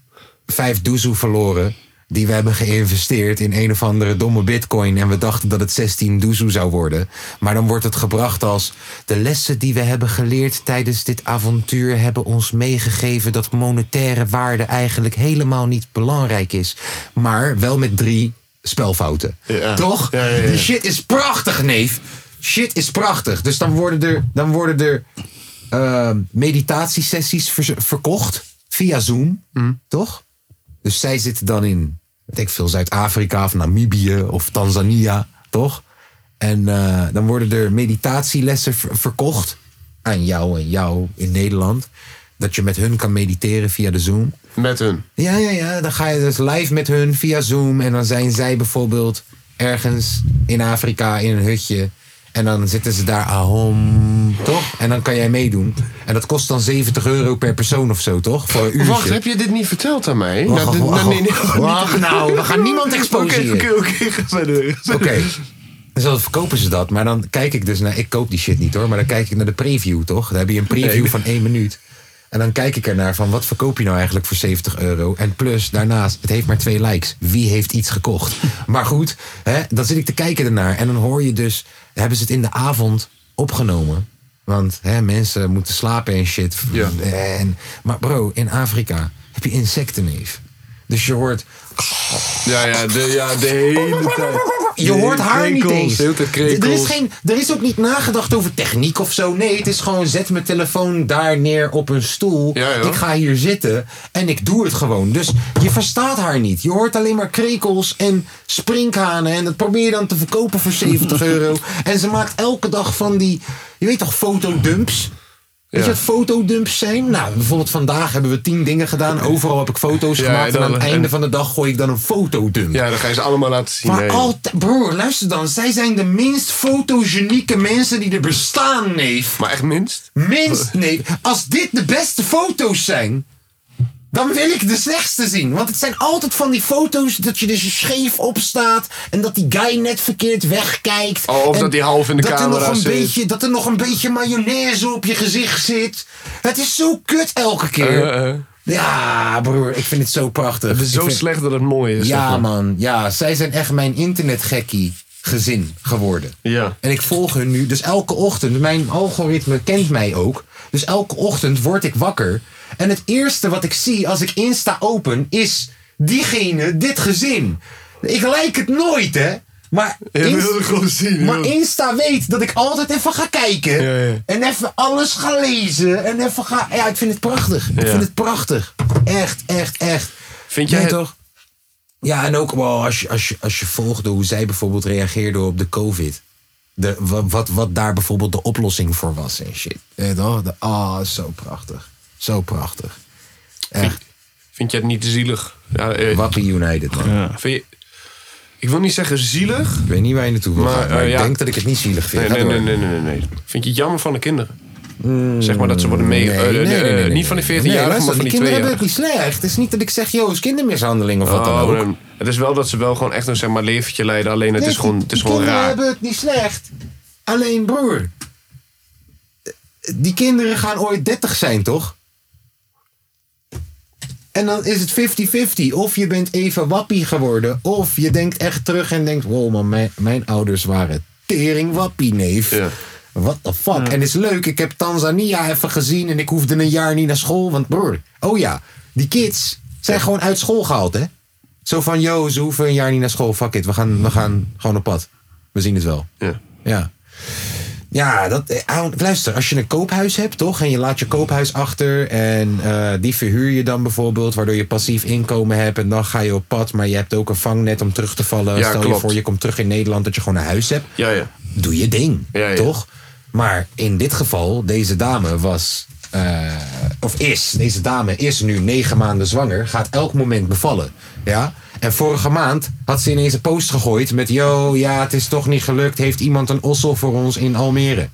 vijf doezoe verloren. Die we hebben geïnvesteerd in een of andere domme bitcoin. En we dachten dat het 16 doezoe zou worden. Maar dan wordt het gebracht als. De lessen die we hebben geleerd tijdens dit avontuur hebben ons meegegeven dat monetaire waarde eigenlijk helemaal niet belangrijk is. Maar wel met drie spelfouten. Ja. Toch? Ja, ja, ja. Die shit is prachtig, neef. Shit is prachtig. Dus dan worden er, dan worden er ehm, meditatiesessies ver- verkocht via Zoom, toch? Dus zij zitten dan in, weet ik veel, Zuid-Afrika of Namibië of Tanzania, toch? En eh, dan worden er meditatielessen ver- verkocht aan jou en jou in Nederland. Dat je met hun kan mediteren via de Zoom. Met hun. Ja, ja, ja. Dan ga je dus live met hun via Zoom. En dan zijn zij bijvoorbeeld ergens in Afrika in een hutje. En dan zitten ze daar ahom, toch? En dan kan jij meedoen. En dat kost dan 70 euro per persoon of zo, toch? Voor een uurtje. Wacht, heb je dit niet verteld aan mij? Wacht, Nou, dit- wacht, nou, nee, nee, wacht. niet- Wacht nou, we gaan niemand exposeren. Oké, oké, oké, ga verder. Oké. Dus dan verkopen ze dat. Maar dan kijk ik dus naar... Ik koop die shit niet hoor. Maar dan kijk ik naar de preview toch? Dan heb je een preview van één minuut. En dan kijk ik ernaar van... Wat verkoop je nou eigenlijk voor 70 euro? En plus, daarnaast, het heeft maar twee likes. Wie heeft iets gekocht? Maar goed, hè, dan zit ik te kijken ernaar. En dan hoor je dus... Hebben ze het in de avond opgenomen? Want hè, mensen moeten slapen en shit. Ja. En, maar bro, in Afrika heb je insecten, neef. Dus je hoort... Ja, ja, de, ja, de hele tijd. Je hoort haar niet Krekels, eens. de hele tijd Er is, krekels. geen, er is ook niet nagedacht over techniek of zo. Nee, het is gewoon zet mijn telefoon daar neer op een stoel. Ja, ja. Ik ga hier zitten en ik doe het gewoon. Dus je verstaat haar niet. Je hoort alleen maar krekels en sprinkhanen. En dat probeer je dan te verkopen voor 70 euro. En ze maakt elke dag van die, je weet toch, fotodumps? Weet Ja. je wat fotodumps zijn? Nou, bijvoorbeeld vandaag hebben we tien dingen gedaan. Overal heb ik foto's Ja, gemaakt. En, en aan dan- het einde en- van de dag gooi ik dan een fotodump. Ja, dan ga je ze allemaal laten zien. Maar nee. altijd, broer, luister dan. Zij zijn de minst fotogenieke mensen die er bestaan, neef. maar echt minst? Minst, neef. Als dit de beste foto's zijn, dan wil ik de slechtste zien. Want het zijn altijd van die foto's dat je dus scheef opstaat. En dat die guy net verkeerd wegkijkt. Oh, of en dat die half in de dat er camera nog een zit. Beetje, dat er nog een beetje mayonaise op je gezicht zit. Het is zo kut elke keer. Eh, eh. Ja, broer, ik vind het zo prachtig. Het is Ik zo vind- slecht dat het mooi is. zeg ja, maar. man. Ja, zij zijn echt mijn internetgekkie gezin geworden. Ja. En ik volg hun nu. Dus elke ochtend, mijn algoritme kent mij ook. Dus elke ochtend word ik wakker. En het eerste wat ik zie als ik Insta open is diegene, dit gezin. Ik lijk het nooit, hè? Maar, Je Inst- wil het gewoon zien. maar joh. Insta weet dat ik altijd even ga kijken. Ja, ja. En even alles ga lezen. En even ga. Ja, ik vind het prachtig. Ik Ja. vind het prachtig. Echt, echt, echt. Vind jij Nee, het- toch? Ja, en ook wel als je, als, je, als je volgde hoe zij bijvoorbeeld reageerde op de COVID. De, wat, wat, wat daar bijvoorbeeld de oplossing voor was en shit. Eh, toch? De- Ah, zo prachtig. Zo prachtig. Echt. Vind jij het niet te zielig? Ja, eh, Wappie United, man. Vind je... Ik wil niet zeggen zielig. Ik weet niet waar je naartoe wil Maar, gaan, maar eh, ik ja. denk dat ik het niet zielig vind. Nee, Ga nee, nee, door. nee, nee, nee. Vind je het jammer van de kinderen? zeg maar dat ze worden mee... Hmm. Nee, eh, nee, eh, nee, nee, eh, nee, niet van die nee. 14 jaar, Nee, maar luister, van die die kinderen 2 hebben het niet slecht. Het is niet dat ik zeg, joh, is kindermishandeling of wat dan ook. Oh, nee. Het is wel dat ze wel gewoon echt een zeg maar, leventje leiden. Alleen het Nee, is gewoon, het is die gewoon kinderen raar. hebben het niet slecht. Alleen broer. Eh, Die kinderen gaan ooit 30 zijn, toch? En dan is het 50-50. Of je bent even wappie geworden. Of je denkt echt terug en denkt: wow, man, mijn, mijn ouders waren tering wappie, neef. Ja. What the fuck? En het is leuk, ik heb Tanzania even gezien en ik hoefde een jaar niet naar school. Want broer, oh ja, die kids zijn gewoon uit school gehaald, hè? Zo van, yo, ze hoeven een jaar niet naar school. Fuck it, we gaan, we gaan gewoon op pad. We zien het wel. Ja. Ja. Ja, dat, eh, aan- luister, als je een koophuis hebt, toch? En je laat je koophuis achter en eh, die verhuur je dan bijvoorbeeld, waardoor je passief inkomen hebt en dan ga je op pad, maar je hebt ook een vangnet om terug te vallen. Ja, Stel je klopt. voor, je komt terug in Nederland dat je gewoon een huis hebt Ja, ja. doe je ding, Ja, ja. toch? Maar in dit geval, deze dame was, eh, of is, deze dame is nu negen maanden zwanger, gaat elk moment bevallen, ja? En vorige maand had ze ineens een post gegooid met, yo, ja, het is toch niet gelukt, heeft iemand een ossel voor ons in Almere?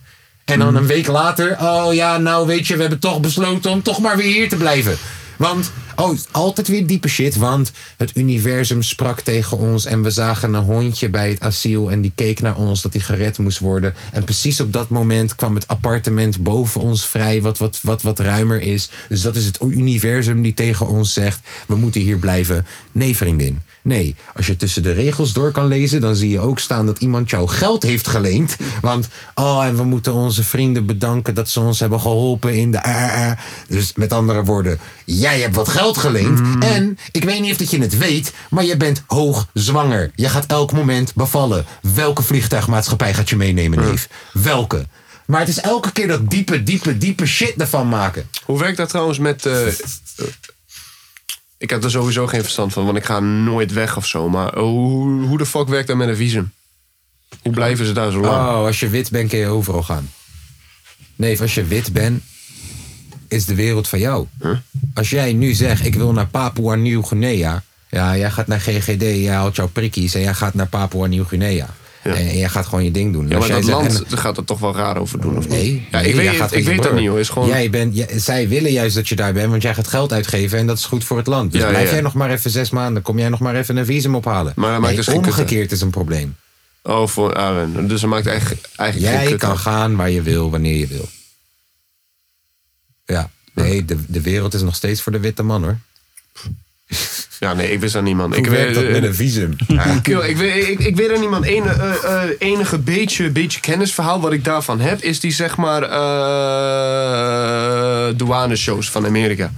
En dan een week later, oh ja, nou weet je, we hebben toch besloten om toch maar weer hier te blijven. Want, oh, altijd weer diepe shit, want het universum sprak tegen ons en we zagen een hondje bij het asiel en die keek naar ons dat hij gered moest worden. En precies op dat moment kwam het appartement boven ons vrij, wat, wat, wat, wat ruimer is. Dus dat is het universum die tegen ons zegt, we moeten hier blijven. Nee, vriendin. Nee, als je tussen de regels door kan lezen, dan zie je ook staan dat iemand jouw geld heeft geleend. Want, oh, en we moeten onze vrienden bedanken dat ze ons hebben geholpen in de. eh, eh. Dus met andere woorden, jij hebt wat geld geleend. En ik weet niet of dat je het weet, maar je bent hoog zwanger. Je gaat elk moment bevallen. Welke vliegtuigmaatschappij gaat je meenemen, neef? Welke? Maar het is elke keer dat diepe, diepe, diepe shit ervan maken. Hoe werkt dat trouwens met... eh, eh, ik heb er sowieso geen verstand van, want ik ga nooit weg of zo. Maar eh, hoe, hoe de fuck werkt dat met een visum? Hoe blijven ze daar zo lang? Oh, als je wit bent, kun je overal gaan. Nee, als je wit bent, is de wereld van jou. Als jij nu zegt, ik wil naar Papua Nieuw-Guinea. Ja, jij gaat naar GGD, jij haalt jouw prikkies en jij gaat naar Papua Nieuw-Guinea. En, en jij gaat gewoon je ding doen. ja, Als maar dat jij zegt- land en- gaat er toch wel raar over doen, of niet? Nee, Ja, nee, ik jij weet, gaat het, met ik je weet dat broer. niet, hoor. Is gewoon... Jij bent, jij- zij willen juist dat je daar bent, want jij gaat geld uitgeven en dat is goed voor het land. Dus Ja, ja, blijf ja. jij nog maar even zes maanden, kom jij nog maar even een visum ophalen. Maar dat maakt dus geen kut uit. omgekeerd is een probleem. Oh, voor Aaron. Dus dat maakt eigenlijk, eigenlijk geen Jij kut kan uit. gaan waar je wil, wanneer je wil. Ja, nee, de, de wereld is nog steeds voor de witte man hoor. Ja, nee, ik wist dat niet, man. Ik ik werk weet, dat eh, met een visum. Nou, Ja. Yo, ik, weet, ik, ik weet er niemand. Het eh, enige beetje, beetje kennisverhaal wat ik daarvan heb, is die zeg maar eh douaneshows van Amerika.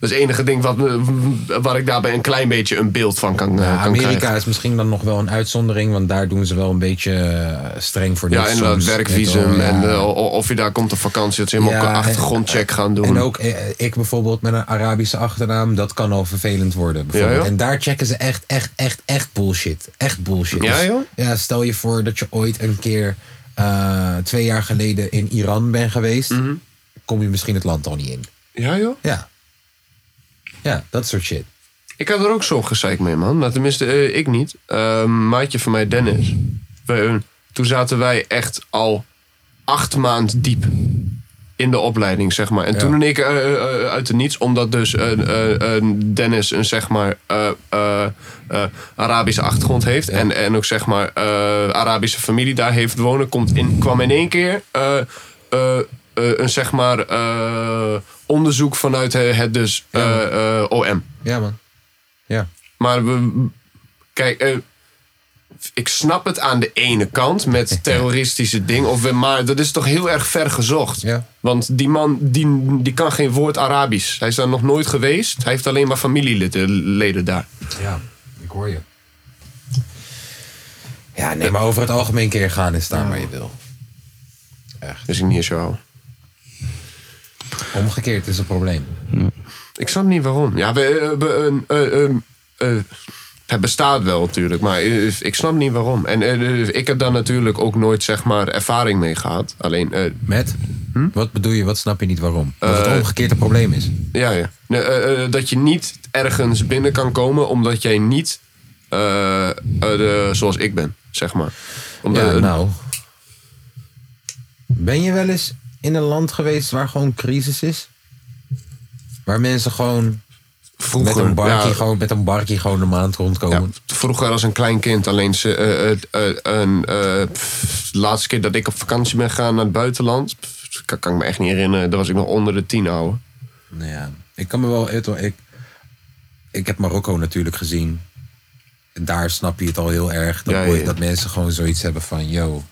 Dat is het enige ding wat, me- waar ik daarbij een klein beetje een beeld van kan, eh, Ja, kan Amerika krijgen. is misschien dan nog wel een uitzondering, want daar doen ze wel een beetje eh, streng voor dit Ja, en dat soms, weet werkvisum je wel, en ja. eh, o- o- of je daar komt op vakantie, dat ze helemaal Ja, een achtergrondcheck gaan doen. En ook eh, ik bijvoorbeeld met een Arabische achternaam, dat kan al vervelend worden. bijvoorbeeld. Ja, joh. En daar checken ze echt, echt, echt, echt bullshit. Echt bullshit. Ja, Dus, joh. ja, stel je voor dat je ooit een keer eh, twee jaar geleden in Iran bent geweest, Mhm. kom je misschien het land al niet in. Ja joh. Ja. Ja, dat soort shit. Ik had er ook zo'n gezeik mee, man. Nou, tenminste, eh, ik niet. Eh, een maatje van mij, Dennis. Wij, eh, toen zaten wij echt al acht maand diep in de opleiding, zeg maar. En toen en ik eh, eh, eh, uit de niets, omdat dus eh, eh, eh, Dennis een, zeg maar, eh, eh, eh, Arabische achtergrond heeft... En, en ook, zeg maar, eh, Arabische familie daar heeft wonen... Komt in, kwam in één keer eh, eh, eh, een, zeg maar, eh, onderzoek vanuit eh, het dus eh, eh, OM. Ja, man. Ja. Maar we, kijk, eh, ik snap het aan de ene kant met terroristische dingen. Of we, maar dat is toch heel erg ver gezocht. Ja. Want die man die, die kan geen woord Arabisch. Hij is daar nog nooit geweest. Hij heeft alleen maar familieleden leden daar. Ja, ik hoor je. Ja, nee, maar over het algemeen keer gaan en staan waar je wil. Dus ik niet eens zo hou. Omgekeerd is een probleem. Ik snap niet waarom. Ja, we, eh, we- eh, eh, eh, eh, het bestaat wel natuurlijk, maar eh, ik snap niet waarom. En eh, eh, ik heb daar natuurlijk ook nooit zeg maar ervaring mee gehad. Alleen eh, Met? Wat bedoel je, wat snap je niet waarom? Dat het Eh, omgekeerd een probleem is. Ja, ja. Nee, eh, eh, dat je niet ergens binnen kan komen omdat jij niet eh, eh, de- zoals ik ben, zeg maar. Omdat, Ja, nou. Ben je wel eens in een land geweest waar gewoon crisis is? Waar mensen gewoon met vroeger, een barkie, ja, gewoon, met een barkie gewoon een maand ja, rondkomen? vroeger als een klein kind, alleen ze, eh, eh, eh, een, eh, pff, de laatste keer dat ik op vakantie ben gegaan naar het buitenland, pff, kan, kan ik me echt niet herinneren, dat was ik nog onder de tien ouwe. Nou ja, ik kan me wel... het- Ik, ik heb Marokko natuurlijk gezien. Daar snap je het al heel erg. Dat, Ja, ja, boy- ja. dat mensen gewoon zoiets hebben van... Yo,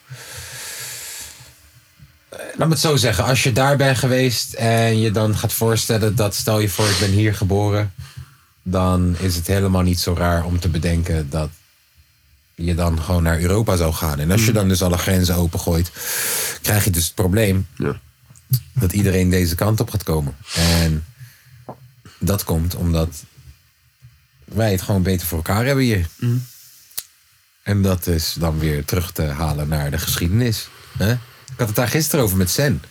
Eh, laat me het zo zeggen. Als je daar bent geweest en je dan gaat voorstellen dat... Stel je voor, ik ben hier geboren. Dan is het helemaal niet zo raar om te bedenken dat je dan gewoon naar Europa zou gaan. En Hmm. als je dan dus alle grenzen opengooit, krijg je dus het probleem Ja. dat iedereen deze kant op gaat komen. En dat komt omdat wij het gewoon beter voor elkaar hebben hier. En dat is dan weer terug te halen naar de geschiedenis. Hè? Ik had het daar gisteren over met Sen.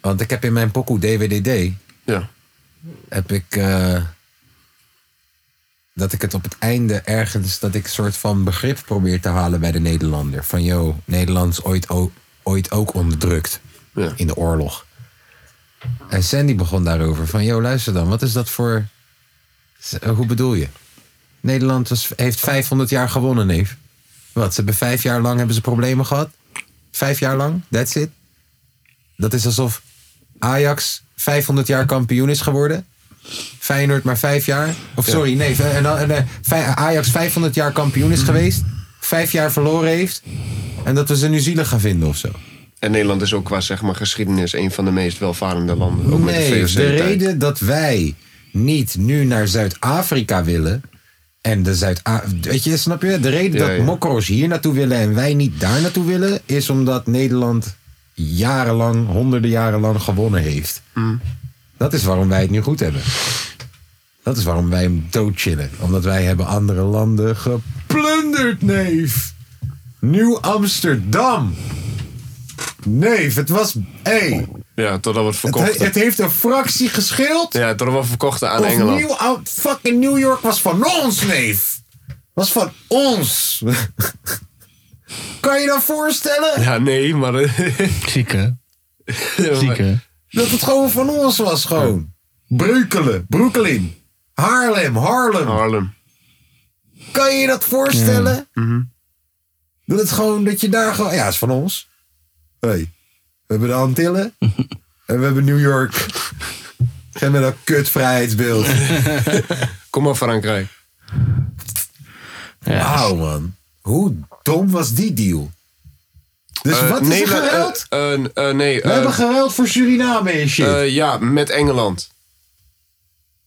Want ik heb in mijn pokoe DWDD Ja. heb ik. eh, dat ik het op het einde ergens. dat ik een soort van begrip probeer te halen bij de Nederlander. Van yo, Nederland is ooit, o- ooit ook onderdrukt. Ja. in de oorlog. En Sandy begon daarover. Van yo, luister dan, wat is dat voor. S- eh, Hoe bedoel je? Nederland was, heeft 500 jaar gewonnen, neef. Wat, ze hebben vijf jaar lang hebben ze problemen gehad? Vijf jaar lang, that's it. Dat is alsof Ajax 500 jaar kampioen is geworden. Feyenoord maar vijf jaar. Of sorry, nee. v- En dan, en, eh, vij- Ajax 500 jaar kampioen is geweest. Vijf jaar verloren heeft. En dat we ze nu zielig gaan vinden of zo. En Nederland is ook qua zeg maar, geschiedenis een van de meest welvarende landen. Ook met de nee, VOC. de, reden dat wij niet nu naar Zuid-Afrika willen. En de zuid Weet je, snap je? De reden Ja, dat ja. mokro's hier naartoe willen en wij niet daar naartoe willen. is omdat Nederland jarenlang, honderden jaren lang gewonnen heeft. Dat is waarom wij het nu goed hebben. Dat is waarom wij hem doodchillen. Omdat wij hebben andere landen geplunderd, neef. Nieuw Amsterdam. Neef, het was. Hey, Ja, totdat we het verkochten. het, het heeft een fractie gescheeld. Ja, totdat we het verkochten aan of Engeland. Nieuw, oud- fucking New York was van ons, neef. Was van ons. kan je dan voorstellen Ja, nee, maar... Ziek hè? Ziek hè? dat het gewoon van ons was? Gewoon. Breukelen, Brooklyn, Haarlem, Harlem. Harlem. Kan je dat voorstellen? Mhm. Dat het gewoon, dat je daar gewoon... Ja, het is van ons. Hey, we hebben de Antillen. en we hebben New York. Geef me dat kutvrijheidsbeeld. Kom maar Frankrijk. Ja. Wauw, man. Hoe dom was die deal? Dus Eh, wat is er we- geruild? eh, eh, eh, nee, we eh, hebben geruild voor Suriname en shit. eh, ja, met Engeland.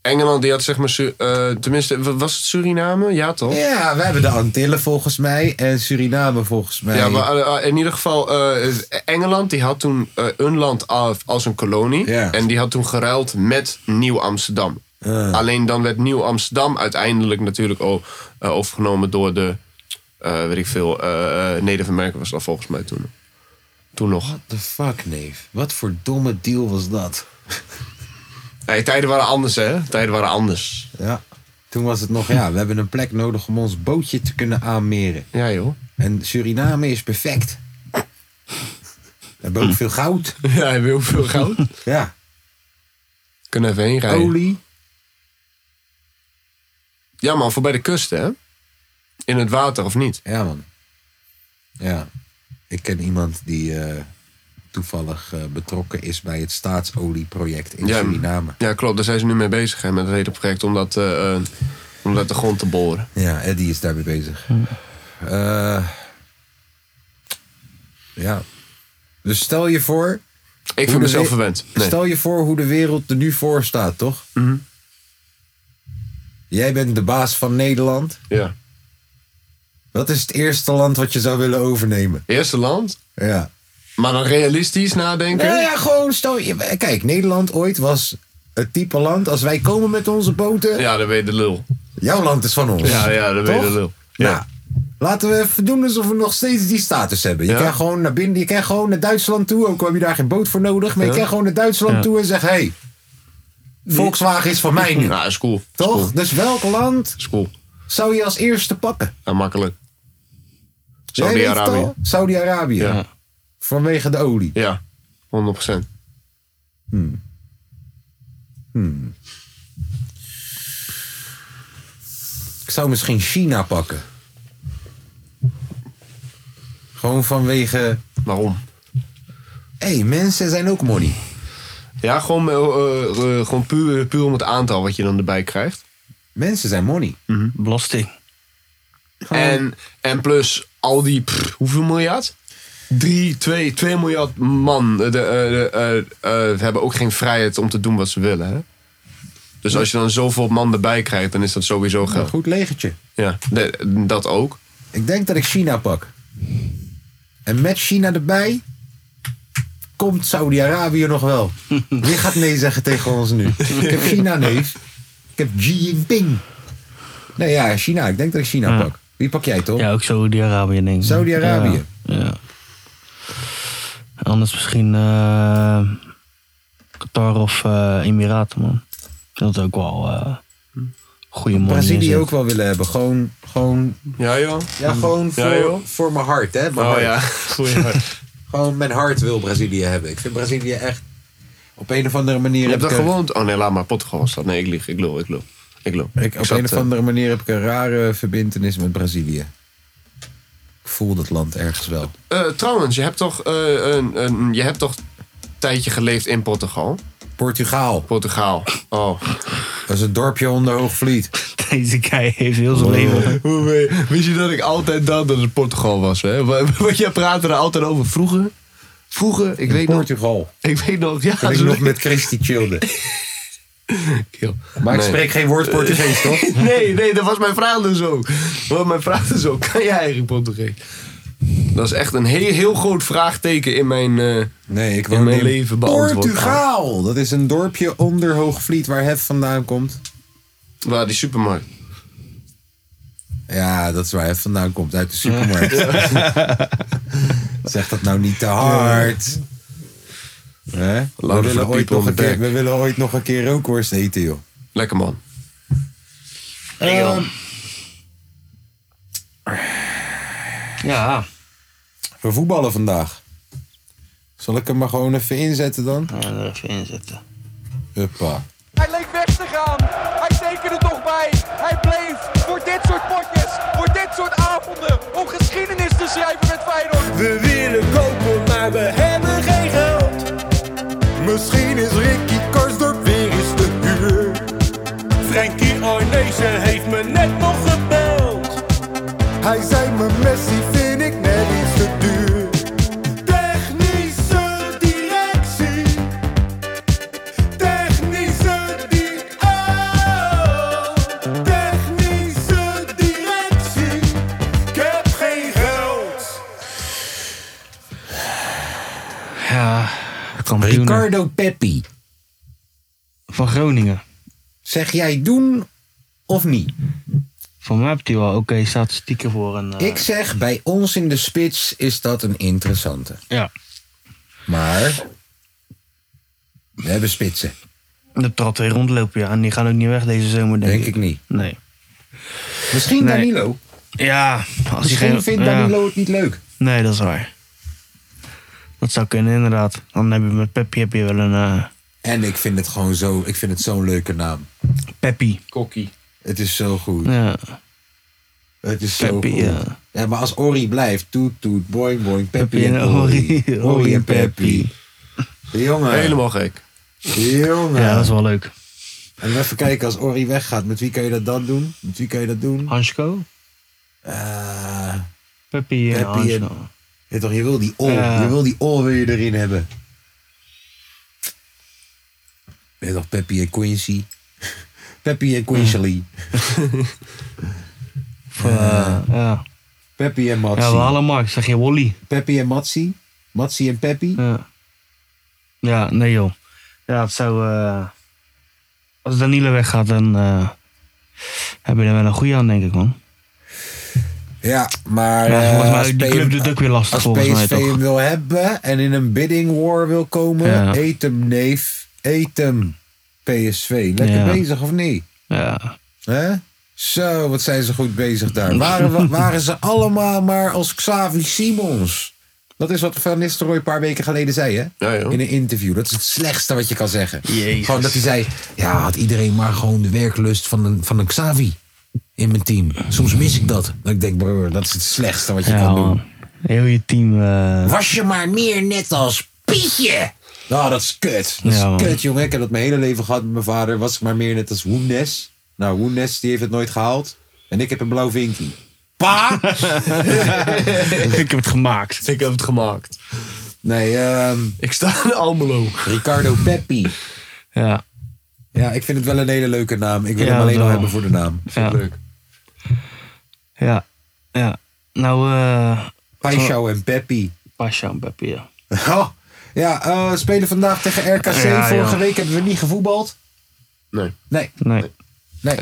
Engeland die had zeg maar, Su- eh, tenminste, wa- was het Suriname? Ja toch? Ja, we hebben de Antillen volgens mij en Suriname volgens mij. Ja, maar eh, eh, in ieder geval, eh, Engeland die had toen eh, een land af als een kolonie. Ja. Ah. En die had toen geruild met Nieuw-Amsterdam. Alleen dan werd Nieuw-Amsterdam uiteindelijk natuurlijk o- eh, overgenomen door de, eh, weet ik veel, eh eh, Native American was dat volgens mij toen. Toen nog. What the fuck, neef? Wat voor domme deal was dat? Nee, tijden waren anders hè, tijden waren anders. Ja. Toen was het nog, ja, we hebben een plek nodig om ons bootje te kunnen aanmeren. Ja joh. En Suriname is perfect. We hebben ook veel goud. Ja, hebben heel veel goud. Ja. Kunnen even heen rijden. Olie. Ja man, voorbij de kust hè. In het water of niet? Ja, man. Ja. Ik ken iemand die eh, toevallig eh, betrokken is bij het staatsolieproject in Ja, m- Suriname. Ja, klopt. Daar zijn ze nu mee bezig hè, met het hele project om dat, eh, eh, om dat de grond te boren. Ja, Eddie is daarmee bezig. Eh, ja. Dus stel je voor. Ik hoe vind de mezelf we- verwend. Nee. Mhm. Stel je voor hoe de wereld er nu voor staat, toch? Jij bent de baas van Nederland. Ja. Wat is het eerste land wat je zou willen overnemen? Eerste land, Ja. maar dan realistisch nadenken. Nou ja, gewoon stel je. Kijk, Nederland ooit was het type land. Als wij komen met onze boten. Ja, dan ben je de lul. Jouw land is van ons. Ja, ja, dan ben je Toch? de lul. Ja. Nou, laten we even doen alsof we nog steeds die status hebben. Je Ja. kan gewoon naar binnen, je kan gewoon naar Duitsland toe. Ook al heb je daar geen boot voor nodig. Maar je Ja. kan gewoon naar Duitsland Ja. toe en zeggen: hé, hey, Volkswagen is van mij nu. Nou, is cool. Is Toch? cool. Dus welk land Is cool. zou je als eerste pakken? Ja, makkelijk. Jij weet het Saudi-Arabië. al? Saudi-Arabië. Ja. Vanwege de olie. Ja, 100%. Ik zou misschien China pakken. Gewoon vanwege. Waarom? Hé, hey, mensen zijn ook money. Ja, gewoon, eh, eh, eh, gewoon puur, puur om het aantal wat je dan erbij krijgt. Mensen zijn money. Belasting. En, en plus al die, pff, hoeveel miljard? 3, 2, 2 miljard man eh, de, eh, de, eh, eh, hebben ook geen vrijheid om te doen wat ze willen. Hè? Dus als je dan zoveel man erbij krijgt, dan is dat sowieso Een geld. goed legertje. Ja, de- dat ook. Ik denk dat ik China pak. En met China erbij komt Saudi-Arabië nog wel. Wie gaat nee zeggen tegen ons nu? Ik heb China neef. Ik heb Xi Jinping. Nee ja, China. Ik denk dat ik China Ja. pak. Wie pak jij toch? Ja, ook Saudi-Arabië denk ik. Saudi-Arabië. Ja. ja. Anders misschien eh, Qatar of eh, Emiraten, man. Dat is ook wel eh goede money. in Brazilië zit. ook wel willen hebben. Gewoon, gewoon, Ja, joh. ja, gewoon voor, Ja, joh. voor mijn hart. Hè? Mijn Oh hart. ja, goeie. Gewoon mijn hart wil Brazilië hebben. Ik vind Brazilië echt op een of andere manier... Je hebt heb dat ik een- gewoond. Oh nee, laat maar. Portugal was dat. Nee, ik lieg. Ik lul, ik lul. Ik lul. Ik, op zat, een of eh, andere manier heb ik een rare verbindenis met Brazilië. Ik voel dat land ergens wel. eh, trouwens, je hebt toch, eh, een, een, je hebt toch een tijdje geleefd in Portugal? Portugaal, Portugal. Oh. dat is een dorpje onder Hoogvliet. Deze guy heeft heel zijn leven. Hoe weet je- Wist je dat ik altijd dacht dat het Portugal was? Hè? Wat, wat jij praatte er altijd over vroeger. Vroeger, ik weet nog. Portugal. Ik weet nog, ja. Ben ik zo nog weet met Christy Childe. ik, joh. Maar ik Nee. Eh, spreek geen woord Portugees, toch? Nee, nee, dat was mijn vraag dus ook. Want mijn vraag dus ook, kan jij eigenlijk Portugees? Dat is echt een heel, heel groot vraagteken in mijn... eh, Nee, ik In woon mijn leven beantwoord. Portugaal! Dat is een dorpje onder Hoogvliet waar Hef vandaan komt. waar die supermarkt. Ja, dat is waar Hef vandaan komt, uit de supermarkt. zeg dat nou niet te hard. Hè? We, for the willen ooit people nog on een the keer, back. we willen ooit nog een keer rookworst eten, joh. Lekker man. Ehm, Ja, We voetballen vandaag. Zal ik hem maar gewoon even inzetten dan? ja, er even inzetten. Huppa. Hij leek weg te gaan. Hij tekende toch bij. Hij bleef voor dit soort potjes, voor dit soort avonden, om geschiedenis te schrijven met Feyenoord. We willen kopen, maar we hebben geen geld. Misschien is Ricky Karsdorp weer eens te huur. Frankie Arnezen heeft me net nog gebeld. Hij zei me Messi vind ik net iets te duur. Technische directie. Technische directie. Kampioenen Ricardo Peppi, van Groningen. zeg jij doen of niet? Voor mij heeft hij wel oké statistieken voor een... eh, Ah. Ik zeg, bij ons in de spits is dat een interessante. Ja, Maar we hebben spitsen, de trad weer rondlopen, ja. En die gaan ook niet weg deze zomer, denk, denk ik niet. Nee. Misschien Nee. Danilo. Ja, als Misschien geen- vindt ja. Danilo het niet leuk. Nee, dat is waar. Dat zou kunnen, inderdaad. Dan heb je met Peppy heb je wel een... eh En ik vind het gewoon zo, ik vind het zo'n leuke naam. Peppy. Kokkie. Het is zo goed. Ja. Het is zo Peppy, goed. ja. Ja. maar als Ori blijft, toet toet, boing boing, Peppy, Peppy en en Ori. Ori. Ori en Peppy. Jongen, Helemaal gek. jongen. ja, dat is wel leuk. En even kijken, als Ori weggaat, met wie kan je dat dan doen? Met wie kan je dat Ah. doen? Hansko? Eh, Peppy Peppy en en- Hansko. ja, toch, je wil die all, Ja. je wil die all wil je erin hebben. Ja, toch, Peppy en Quincy. Peppy en Quincy. Of, eh, ja. Peppy en ja, we Matsi. halen Mark. Zeg je Wally? Peppy en Matsi. Matsi en Peppy. Ja. ja, nee joh. Ja, het zou... eh, als Danilo weggaat, dan eh, heb je er wel een goede aan, denk ik, man. Ja, maar... Ja, eh, volgens mij, als die P- club doet het ook weer lastig, Als volgens mij, PSV toch? hem wil hebben en in een bidding war wil komen, Ja. eet hem neef, eet hem PSV. Lekker Ja. bezig of niet? Ja. Hè? Zo, wat zijn ze goed bezig daar. Waren, we- waren ze allemaal maar als Xavi Simons? Dat is wat Van Nistelrooy een paar weken geleden zei, hè? Ja, joh. In een interview. Dat is het slechtste wat je kan zeggen. Jezus. Gewoon dat hij zei, ja, had iedereen maar gewoon de werklust van een, van een Xavi in mijn team. Soms mis ik dat. Dat ik denk, broer, dat is het slechtste wat je Ja, kan doen. man. Heel je team... eh, Was je maar meer net als Pietje. Nou, dat is kut. Dat is Ja, man. kut, jongen. Ik heb dat mijn hele leven gehad met mijn vader. Was ik maar meer net als Woendes. Nou, Woendes, die heeft het nooit gehaald. En ik heb een blauw vinkie. Pa! ik heb het gemaakt. Ik heb het gemaakt. Nee, ehm, Ik sta in Almelo. Ricardo Peppi. Ja. Ja, ik vind het wel een hele leuke naam. Ik wil Ja, hem alleen wel. al hebben voor de naam. Ja. Ja. Ja. Nou, eh... Paisjouw en Peppi. Pasha en Peppy, ja. Oh, ja, eh, we spelen vandaag tegen RKC. Ja, Vorige ja. week hebben we niet gevoetbald. Nee. Nee, Nee. nee.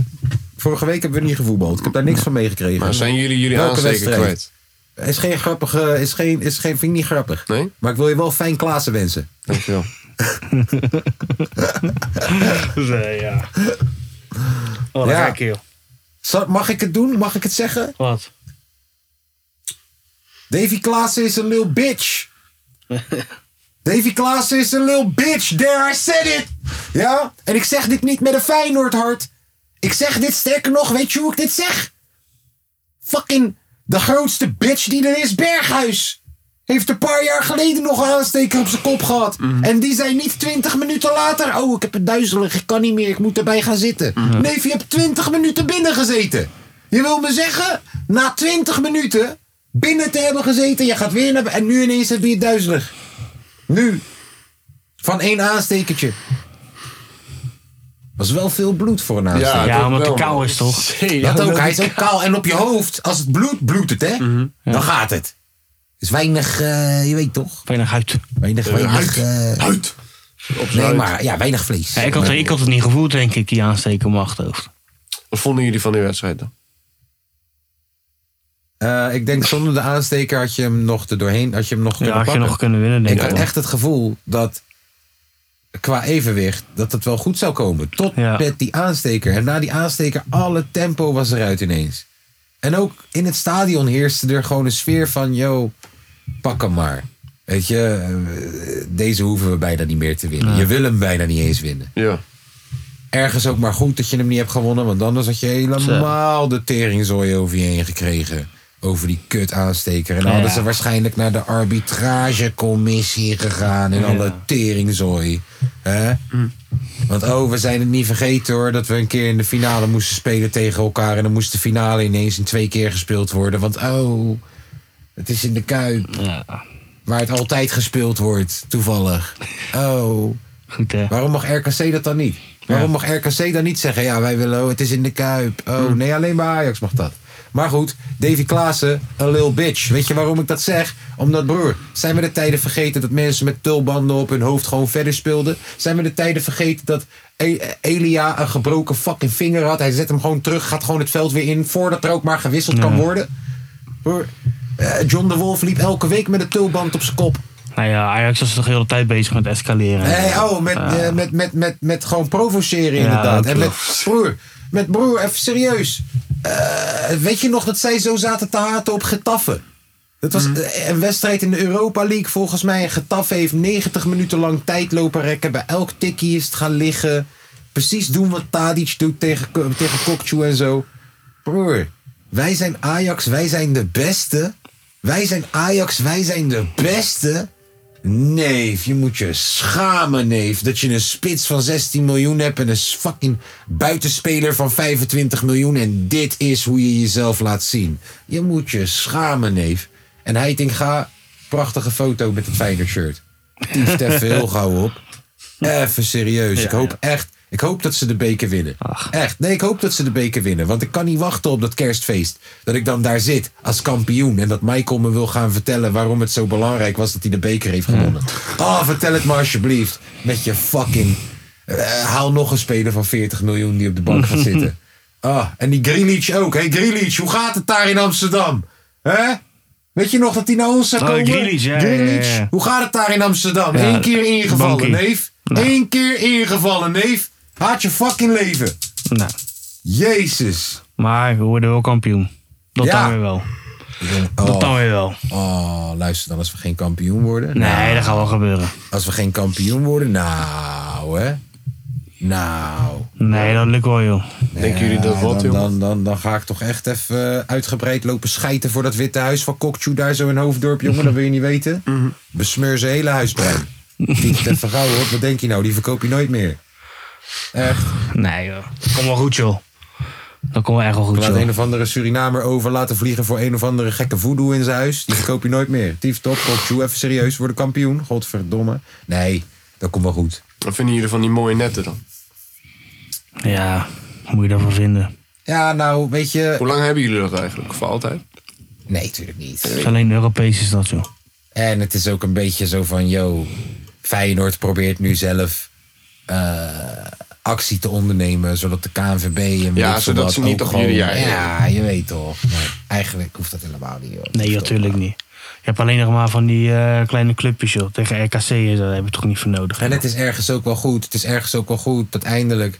Vorige week hebben we niet gevoetbald. Ik heb daar niks van meegekregen. Maar zijn jullie jullie Welke aansteker wedstrijd? kwijt? Is geen grappige, is geen, is geen, vind ik niet grappig. Nee? Maar ik wil je wel fijn Klaassen wensen. Dankjewel. Nee, ja. Oh, Ja. gek, joh. Zal- mag ik het doen? Mag ik het zeggen? Wat? Davy Klaassen is een lil bitch. Davy Klaassen is een lil bitch. There, I said it. Ja? En ik zeg dit niet met een Feyenoord hart. Ik zeg dit sterker nog, weet je hoe ik dit zeg? Fucking de grootste bitch die er is, Berghuis. Heeft een paar jaar geleden nog een aansteker op zijn kop gehad. En die zei niet twintig minuten later... Oh, ik heb het duizelig, ik kan niet meer, ik moet erbij gaan zitten. Nee, je hebt twintig minuten binnen gezeten. Je wil me zeggen, na twintig minuten binnen te hebben gezeten... Je gaat weer naar... En nu ineens heb je het duizelig. Nu. Van één aanstekertje. Was wel veel bloed voor een aansteker. Ja, dat omdat wel, hij kou man. is, toch? Dat ook, hij is Mhm, ook kaal. En op je hoofd, als het bloed bloedt het, hè? Dan gaat het. Is weinig, eh, je weet toch? Weinig huid. Weinig, weinig, eh, Uit! nee, maar ja, weinig vlees. Ja, ik, had, ik had het niet gevoeld, denk ik, die aansteken op mijn achterhoofd. Wat vonden jullie van die wedstrijd dan? Eh, ik denk zonder de aansteker had je hem nog er doorheen, had je hem nog Ja, kunnen had je pakken. nog kunnen winnen, denk ik ik. had wel. echt het gevoel dat qua evenwicht dat het wel goed zou komen. Tot Ja. met die aansteker. En na die aansteker, alle tempo was eruit ineens. En ook in het stadion heerste er gewoon een sfeer van... yo, pak hem maar. Weet je, eh, deze hoeven we bijna niet meer te winnen. Je wil hem bijna niet eens winnen. Ja. Ergens ook maar goed dat je hem niet hebt gewonnen... want anders had je helemaal de teringzooi over je heen gekregen. Over die kut aansteker. En dan hadden Ja. ze waarschijnlijk naar de arbitragecommissie gegaan... en alle teringzooi. hè? Want oh, we zijn het niet vergeten hoor... dat we een keer in de finale moesten spelen tegen elkaar... en dan moest de finale ineens in twee keer gespeeld worden. Want oh, het is in de Kuip... Ja, waar het altijd gespeeld wordt, toevallig. Oh... goed hè. Waarom mag RKC dat dan niet? Waarom mag RKC dan niet zeggen, ja, wij willen, oh, het is in de Kuip. Oh, nee, alleen bij Ajax mag dat. Maar goed, Davy Klaassen, een lil bitch. Weet je waarom ik dat zeg? Omdat, broer, zijn we de tijden vergeten dat mensen met tulbanden op hun hoofd gewoon verder speelden? Zijn we de tijden vergeten dat E- Elia een gebroken fucking vinger had? Hij zet hem gewoon terug, gaat gewoon het veld weer in voordat er ook maar gewisseld kan worden. Broer, eh, John de Wolf liep elke week met een tulband op zijn kop. Nou ja, Ajax was toch de hele tijd bezig met escaleren. Nee, oh, met, eh, met, met, met, met gewoon provoceren Ja, inderdaad. dat En met broer, met broer, even serieus. Eh, weet je nog dat zij zo zaten te haten op Getafe? Dat was eh, een wedstrijd in de Europa League volgens mij. En Getafe heeft 90 minuten lang tijd lopen rekken. Bij elk tikkie is het gaan liggen. Precies doen wat Tadic doet tegen, Ko- tegen Kokchu en zo. Broer, wij zijn Ajax, wij zijn de beste. Wij zijn Ajax, wij zijn de beste. Neef, je moet je schamen, neef. Dat je een spits van 16 miljoen hebt en een fucking buitenspeler van 25 miljoen. En dit is hoe je jezelf laat zien. Je moet je schamen, neef. En Heitinga, prachtige foto met het Feyenoord shirt. Tief te veel gauw op. Even serieus. ik hoop echt. Ik hoop dat ze de beker winnen. Echt. Nee, ik hoop dat ze de beker winnen. Want ik kan niet wachten op dat kerstfeest. Dat ik dan daar zit als kampioen. En dat Michael me wil gaan vertellen waarom het zo belangrijk was dat hij de beker heeft gewonnen. Hmm. Oh, vertel het maar alsjeblieft. Met je fucking. eh, haal nog een speler van 40 miljoen die op de bank gaat zitten. Ah, en die Grealish ook. Hé, hey, Grealish, hoe gaat het daar in Amsterdam? Hè? Weet je nog dat hij naar ons zou Oh, komen? Grealish, ja, ja, ja, ja. Grealish. Hoe gaat het daar in Amsterdam? Ja, Eén keer ingevallen, bankie. Nou. neef. Eén keer ingevallen, neef. Haat je fucking leven. Nou, Jezus. maar we worden wel kampioen. Dat Ja. dan weer wel. Dat dan Oh, weer wel. oh, luister dan, als we geen kampioen worden. nou, Nee, dat gaat wel gebeuren. Als we geen kampioen worden, nou hè. Nou. Nee, dat lukt wel, joh. Denken jullie dat Ja, wat, dan, joh? dan, dan, dan ga ik toch echt even eh, uitgebreid lopen schijten voor dat witte huis van Kokchu daar zo in Hoofddorp, jongen. Dat wil je niet weten. Mhm. Besmeur zijn hele huisplein. Niet te vergauwen, hoor. Wat denk je nou? Die verkoop je nooit meer. Echt. Nee, joh. Dat komt wel goed, joh. Dat komt wel echt wel goed, Laat joh. een of andere Surinamer over laten vliegen voor een of andere gekke voodoo in zijn huis. Die verkoop je nooit meer. Tief top, Kokchu, even serieus. Worden kampioen. Godverdomme. Nee, dat komt wel goed. Wat vinden jullie van die mooie netten dan? Ja, moet je daarvan vinden. Ja, nou, weet je... Hoe lang hebben jullie dat eigenlijk? Voor altijd? Nee, natuurlijk niet. Het is alleen Europees is dat, joh. En het is ook een beetje zo van, yo, Feyenoord probeert nu zelf eh, actie te ondernemen, zodat de KNVB en weet Ja, ik zodat wat ze niet ook op gewoon- jullie eigen- Ja, je weet toch. Maar eigenlijk hoeft dat helemaal niet, joh. Nee, natuurlijk niet. Je hebt alleen nog maar van die eh, kleine clubjes, joh. Tegen RKC en zo, daar heb je toch niet voor nodig. En het is ergens ook wel goed. Het is ergens ook wel goed dat eindelijk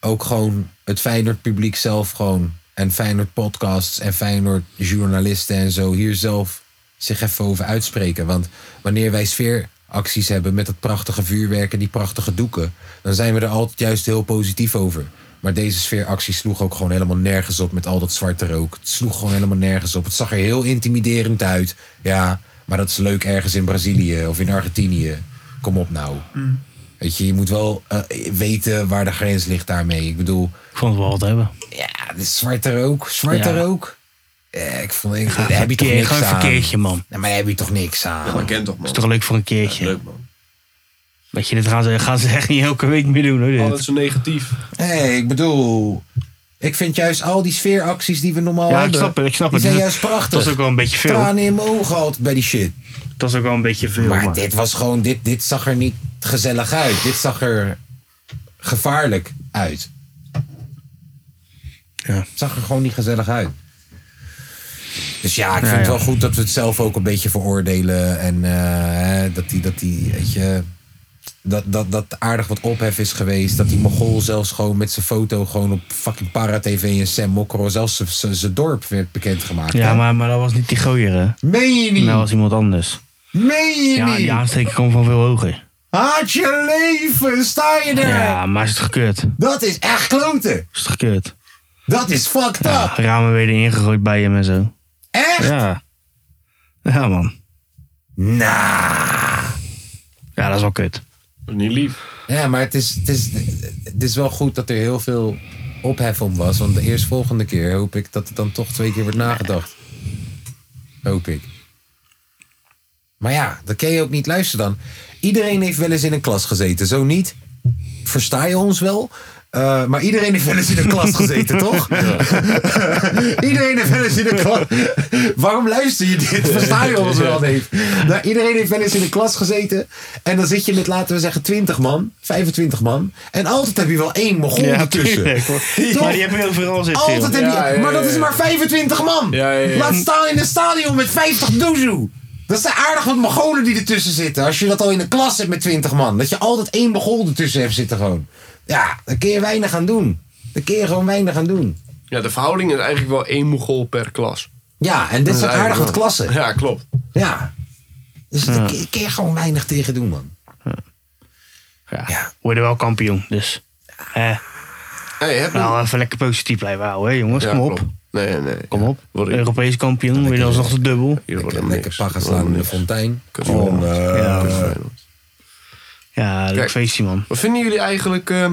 ook gewoon het Feyenoord publiek zelf gewoon en Feyenoord podcasts en Feyenoord journalisten en zo hier zelf zich even over uitspreken. Want wanneer wij sfeeracties hebben met dat prachtige vuurwerk en die prachtige doeken, dan zijn we er altijd juist heel positief over. Maar deze sfeeractie sloeg ook gewoon helemaal nergens op met al dat zwarte rook. Het sloeg gewoon helemaal nergens op. Het zag er heel intimiderend uit. Ja, maar dat is leuk ergens in Brazilië of in Argentinië. Kom op nou. Weet je, je moet wel eh, weten waar de grens ligt daarmee. Ik bedoel, Ik vond het wel wat hebben. ja, de zwarte rook, zwarte Ja. rook. Eh, ik vond, ik, daar heb je toch Verkeer- niks Gewoon een aan. verkeertje, man. Nou, maar daar heb je toch niks aan. Dat kent toch, Dat man? is toch leuk voor een keertje. Leuk, man. Weet je, dit gaan ze, gaan ze echt niet elke week meer doen, hoor. dit. Altijd zo negatief. hey, ik bedoel, ik vind juist al die sfeeracties die we normaal Ja, ik hebben, snap het, ik snap die het. zijn Dus juist prachtig. dat is ook wel een beetje veel. Tranen in mijn ogen altijd bij die shit. Dat is ook wel een beetje veel, Maar man. dit was gewoon, dit, dit zag er niet gezellig uit. Dit zag er gevaarlijk uit. Ja. Het zag er gewoon niet gezellig uit. Dus ja, ik vind Ja, het ja. wel goed dat we het zelf ook een beetje veroordelen. En eh, hè, dat die, dat die, weet je, dat, dat, dat aardig wat ophef is geweest. Dat die Mogol zelfs gewoon met zijn foto gewoon op fucking Para TV en Sam Mokro, zelfs zijn- zijn- zijn dorp werd bekendgemaakt. Ja, hè? maar, maar dat was niet die gooier, hè. Meen je niet? Dat was iemand anders. Meen je Ja, niet? die aansteker kwam van veel hoger. Haat je leven, sta je er? Ja, maar is het gekeurd? Dat is echt kloten. Is het gekeurd? Dat is fucked Ja, up. ramen weer erin gegooid bij hem en zo. Echt? Ja. Ja, man. Nou. Ja, dat is wel kut. Dat is niet lief. Ja, maar het is, het, is, het is wel goed dat er heel veel ophef om was. Want de eerstvolgende keer hoop ik dat het dan toch twee keer wordt nagedacht. Hoop ik. Maar ja, dan kan je ook niet luisteren dan. Iedereen heeft wel eens in een klas gezeten. Zo niet. Versta je ons wel? Eh, maar iedereen heeft wel eens in een klas gezeten, toch? iedereen heeft wel eens in een klas. Waarom luister je dit? Versta je ons wel, Dave? Nou, iedereen heeft wel eens in een klas gezeten. En dan zit je met, laten we zeggen, 20 man, 25 man. En altijd heb je wel één Mongool ertussen. tuurlijk, hoor. Toch? Maar die heb je overal zitten. Altijd joh. heb je. Ja, ja, maar dat ja, is ja. maar 25 man. Ja, ja, ja. Laat staan in een stadion met 50 doezoe. Dat zijn aardig wat Mongolen die ertussen zitten. Als je dat al in een klas hebt met 20 man. Dat je altijd één Mogol ertussen hebt zitten gewoon. Ja, dan kun je weinig aan doen. Dan kun je gewoon weinig aan doen. Ja, de verhouding is eigenlijk wel één Mogol per klas. Ja, en dit zijn aardig wat klassen. Ja, klopt. Ja. Dus daar kun je- kun je gewoon weinig tegen doen, man. Ja. Ja. Worden wel kampioen, dus. Eh, Hey, heb je- nou, even lekker positief blijven houden, hè, jongens. Ja, Kom op. klopt. Nee, nee. Kom op. Word ik- Europees kampioen, weer alsnog de dubbel. Hier Lekker, wordt hem lekker niks. paggen Wordt slaan hem in de niks. fontein. Kut, Gewoon, Feyenoord. eh, Kut, Feyenoord. Ja, leuk Kijk. feestje, man. Wat vinden jullie eigenlijk... eh,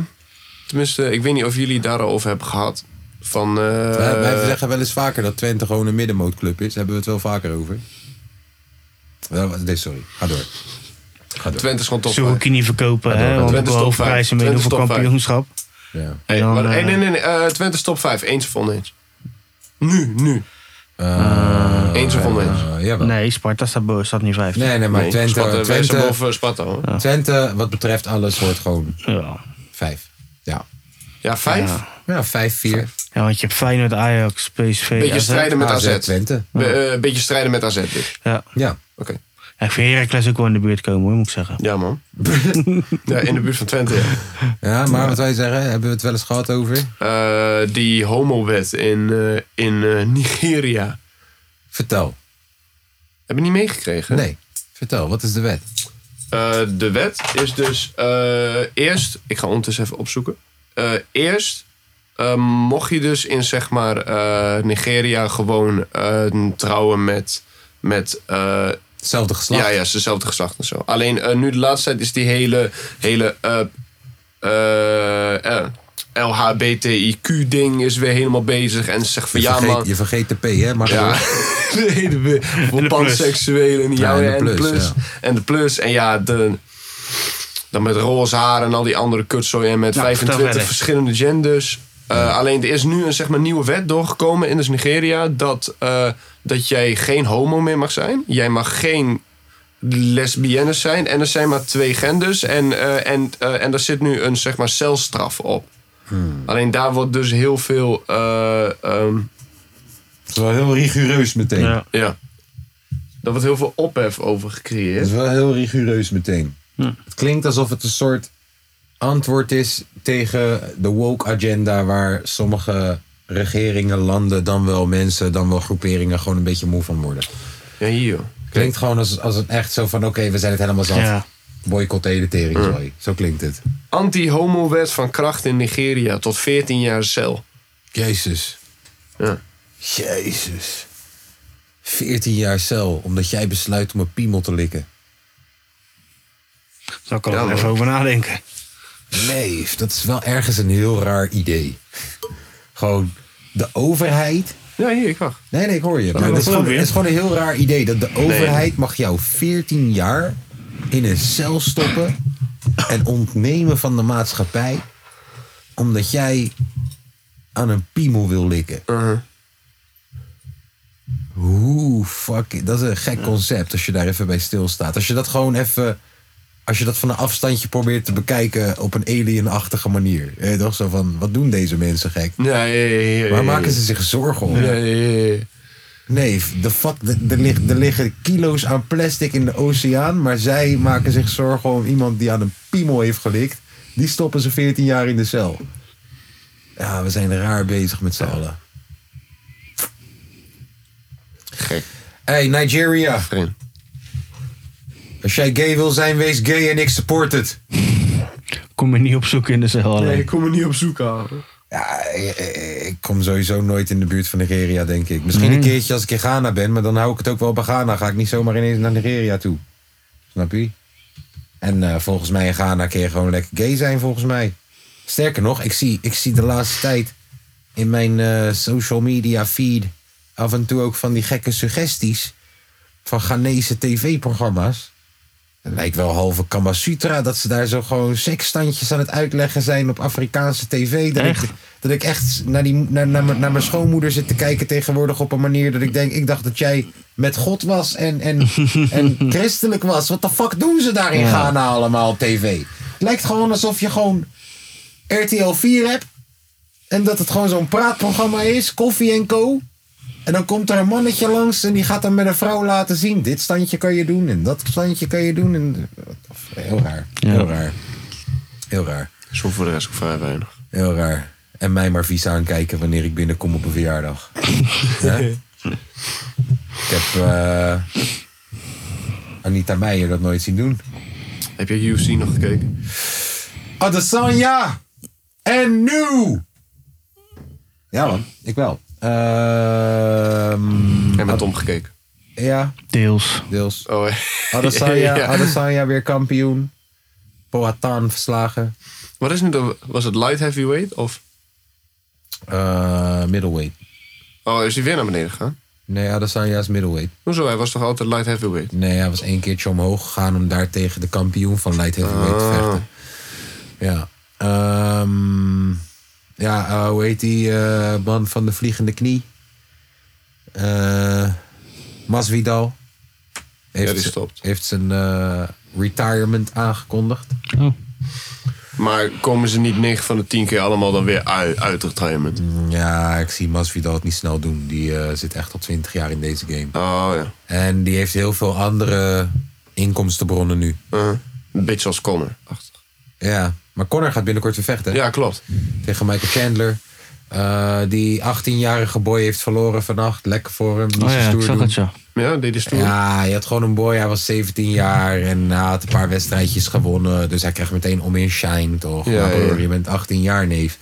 tenminste, ik weet niet of jullie het daar al over hebben gehad. Van... eh, Wij, wij zeggen wel eens vaker dat Twente gewoon een middenmootclub is. Daar hebben we het wel vaker over. Wel, nee, sorry, ga door. Ga door. Twente is gewoon top vijf. Surukini verkopen, hè. Want Twente is ik wil top hoge vijf. prijzen Twente meedoen is voor top vijf. kampioenschap. Ja. Hey, Dan, maar- eh, hey, nee, nee, nee. eh, Twente is top 5. Eens of oneens? Nu, nu. Eens of oneens? Eh, jawel. Nee, Sparta staat, bo- staat niet vijfde. Nee, nee, maar Nee, Twente, Sparta, wij zijn Twente, boven Sparta, hoor. Twente, wat betreft alles, wordt gewoon Ja. vijf. Ja, Ja, vijf? ja vijf, vier. ja, want je hebt Feyenoord, Ajax, PSV, Beetje AZ. strijden met AZ. Twente. Be- eh, beetje strijden met AZ dus. Ja. Ja. Oké. Ja, ik vind Heracles ook wel in de buurt komen, hoor, moet ik zeggen. Ja, man. ja, in de buurt van Twente, ja. ja, maar wat wij zeggen, hebben we het wel eens gehad over? Eh, die homowet in, eh, in eh, Nigeria. Vertel. Heb je niet meegekregen? Nee, vertel, wat is de wet? Eh, de wet is dus eh, eerst... Ik ga ondertussen even opzoeken. Eh, eerst eh, mocht je dus in zeg maar eh, Nigeria gewoon eh, trouwen met... met eh, Hetzelfde geslacht. Ja, ja, het is hetzelfde geslacht en zo. Alleen eh, nu de laatste tijd is die hele, hele eh, eh, eh, LHBTIQ-ding is weer helemaal bezig. En ze zegt van Je, ja, vergeet, man. je vergeet de P, hè? Maar Ja, gewoon- de hele weer- voor de plus. panseksuelen en die Ja, jou- en de en de plus, plus. ja. En de plus. En ja, de, dan met roze haar en al die andere kutzooi. En met Nou, vertel 25 verder. verschillende genders. Eh, alleen er is nu een zeg maar, nieuwe wet doorgekomen in dus Nigeria. Dat, eh, dat jij geen homo meer mag zijn. Jij mag geen lesbiennes zijn. En er zijn maar twee genders. En, eh, en, eh, en daar zit nu een zeg maar, celstraf op. Hmm. Alleen daar wordt dus heel veel eh, ehm, Het is wel heel rigoureus meteen. Ja. ja. Daar wordt heel veel ophef over Het gecreëerd. is wel heel rigoureus meteen. Hm. Het klinkt alsof het een soort antwoord is tegen de woke agenda waar sommige regeringen, landen, dan wel mensen, dan wel groeperingen gewoon een beetje moe van worden. Ja, hier. joh. Klinkt gewoon als, als een echt zo van oké, we zijn het helemaal zat. Ja. Boycott de hele tering, sorry. Zo klinkt het. Anti-homo-wet van kracht in Nigeria tot 14 jaar cel. Jezus. Ja. Jezus. 14 jaar cel, omdat jij besluit om een piemel te likken. Daar kan ik Ja, wel man. even over nadenken. Nee, dat is wel ergens een heel raar idee. Gewoon de overheid. Ja, hier, ik wacht. Nee, nee, ik hoor je. Maar dat het, is geloof gewoon, je. het is gewoon een heel raar idee dat de overheid mag jou 14 jaar in een cel stoppen en ontnemen van de maatschappij omdat jij aan een piemel wil likken. Uh-huh. Hoe fuck, dat is een gek concept als je daar even bij stilstaat. Als je dat gewoon even, als je dat van een afstandje probeert te bekijken op een alienachtige manier. Eh, toch zo van, wat doen deze mensen gek? Ja, ja, ja, ja, ja, Waar ja, maken ja. ze zich zorgen om? Ja, ja, ja, ja. Nee, de fuck, de- er, ligt, er liggen kilo's aan plastic in de oceaan. Maar zij maken zich zorgen om iemand die aan een piemel heeft gelikt. Die stoppen ze 14 jaar in de cel. Ja, we zijn raar bezig met z'n allen. Gek. Hey, Nigeria. Vreemd. Als jij gay wil zijn, wees gay en ik support het. Kom je niet opzoeken in de cel alleen. Nee, ik kom er niet op zoek aan. Ja, ik, ik- ik kom sowieso nooit in de buurt van Nigeria, denk ik. Misschien een keertje als ik in Ghana ben, maar dan hou ik het ook wel bij Ghana. Ga ik niet zomaar ineens naar Nigeria toe. Snap je? En eh, volgens mij in Ghana kun je gewoon lekker gay zijn, volgens mij. Sterker nog, ik zie, ik zie de laatste tijd in mijn eh, social media feed af en toe ook van die gekke suggesties van Ghanese tv-programma's. Het lijkt wel halve Kamasutra dat ze daar zo gewoon seksstandjes aan het uitleggen zijn op Afrikaanse tv. Dat, Ik, Echt? dat ik echt naar, die, naar, naar, mijn- naar mijn schoonmoeder zit te kijken tegenwoordig op een manier dat ik denk, ik dacht dat jij met God was en, en, en christelijk was. Wat de fuck doen ze daar in Ghana allemaal op tv? Het lijkt gewoon alsof je gewoon RTL 4 hebt en dat het gewoon zo'n praatprogramma is, koffie en co. En dan komt er een mannetje langs en die gaat dan met een vrouw laten zien. Dit standje kan je doen en dat standje kan je doen. En, heel raar. Heel raar. Heel raar. Zo voor de rest ook vrij weinig. Heel raar. En mij maar vies aankijken wanneer ik binnenkom op een verjaardag. Hè? ik heb eh, Anita Meijer dat nooit zien doen. Heb je UFC nog gekeken? Adesanya en nu. Ja man, ik wel. Ehm, En met Tom gekeken. ja, Deels. deels. Oh, hè. Adesanya, Ja. Adesanya weer kampioen. Poatan verslagen. Wat is nu de, was het light heavyweight of? Eh, middleweight. Oh, is hij weer naar beneden gegaan? Nee, Adesanya is middleweight. Hoezo, hij was toch altijd light heavyweight? Nee, hij was één keertje omhoog gegaan om daar tegen de kampioen van light heavyweight Ah. te vechten. Ja. Ehm, ja, eh, hoe heet die eh, man van de vliegende knie? Eh Masvidal. Heeft, die stopt. Heeft zijn eh, retirement aangekondigd. Maar komen ze niet 9 van de 10 keer allemaal dan weer uit, uit retirement? Hm. Ja, ik zie Masvidal het niet snel doen. Die eh, zit echt al twintig jaar in deze game. Oh ja. En die heeft heel veel andere inkomstenbronnen nu. Uh, een beetje als Connor. Achtig. Ja, maar Connor gaat binnenkort weer vechten. Ja, klopt. Tegen Michael Chandler. Eh, die 18-jarige boy heeft verloren vannacht. Lekker voor hem. Niet Oh zo ja, ik stoer zag doen. het ja. Ja, dit is toen. Ja, hij had gewoon een boy. Hij was 17 jaar en hij had een paar wedstrijdjes gewonnen. Dus hij kreeg meteen om in shine, toch? Ja, Ja, broer, ja. Je bent 18 jaar, neef.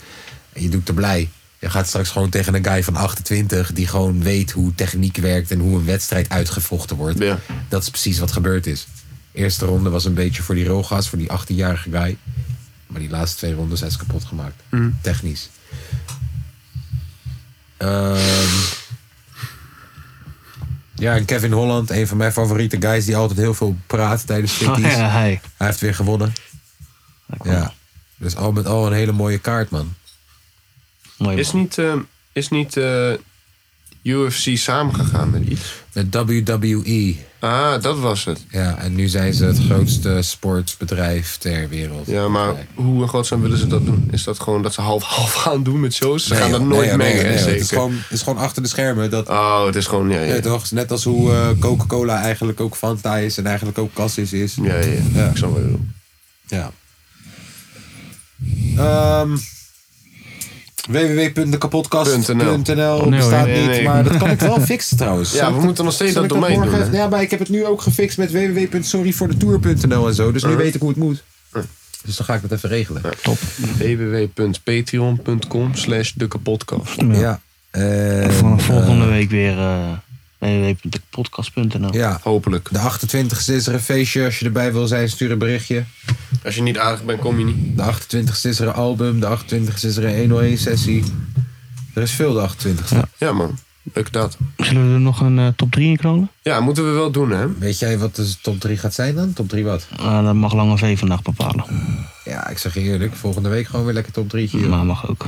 En je doet er blij. Je gaat straks gewoon tegen een guy van 28 die gewoon weet hoe techniek werkt en hoe een wedstrijd uitgevochten wordt. Ja. Dat is precies wat gebeurd is. Eerste ronde was een beetje voor die Rogas, voor die 18-jarige guy. Maar die laatste twee rondes hij is kapot gemaakt. Mm. Technisch. Ehm, ja, en Kevin Holland, een van mijn favoriete guys die altijd heel veel praat tijdens Oh stickies. ja, hij. Hij heeft weer gewonnen. Ja. Dus al met al een hele mooie kaart, man. Mooi Is man. niet, ehm, is niet eh, UFC samengegaan met iets? De WWE. Ah, dat was het. Ja, en nu zijn ze het grootste sportsbedrijf ter wereld. Ja, maar hoe in godsnaam willen ze dat doen? Is dat gewoon dat ze half-half gaan doen met shows? Ze Nee, gaan dat joh, nooit nee, joh, nee, mengen, joh, nee, hè, joh. zeker. Het is gewoon, het is gewoon achter de schermen. Dat, Oh, het is gewoon, ja, ja. Ja, toch? Net als hoe eh, Coca-Cola eigenlijk ook Fanta is en eigenlijk ook Cassis is. Ja, ja, ja. Ja. Ik snap wat je bedoelt. Ja. Ehm www.dekapodcast.nl hoor, bestaat Oh, nee, niet, nee. maar dat kan ik wel fixen trouwens. Ja, Zal we ik- moeten nog steeds zal dat ik domein morgen- doen, hè? Ja, maar ik heb het nu ook gefixt met www.sorryvoordetour.nl en zo. Dus nu weet ik hoe het moet. Dus dan ga ik dat even regelen. www.patreon.com slash de kapotkast. Ja. eh, En, Vanaf volgende week weer eh www.podcast.nl. ja. Hopelijk. De 28e is er een feestje. Als je erbij wil zijn, stuur een berichtje. Als je niet aardig bent, kom je niet. De 28 e is er een album, de 28 e is er een 101-sessie. Er is veel de 28 e Ja, man. Leuk dat. Zullen we er nog een eh, top 3 in knallen? Ja, moeten we wel doen, hè? Weet jij wat de top 3 gaat zijn dan? Top 3 wat? Ah, dat mag Lange V vandaag bepalen. Ja, ik zeg je eerlijk, volgende week gewoon weer lekker top 3. Maar mag ook.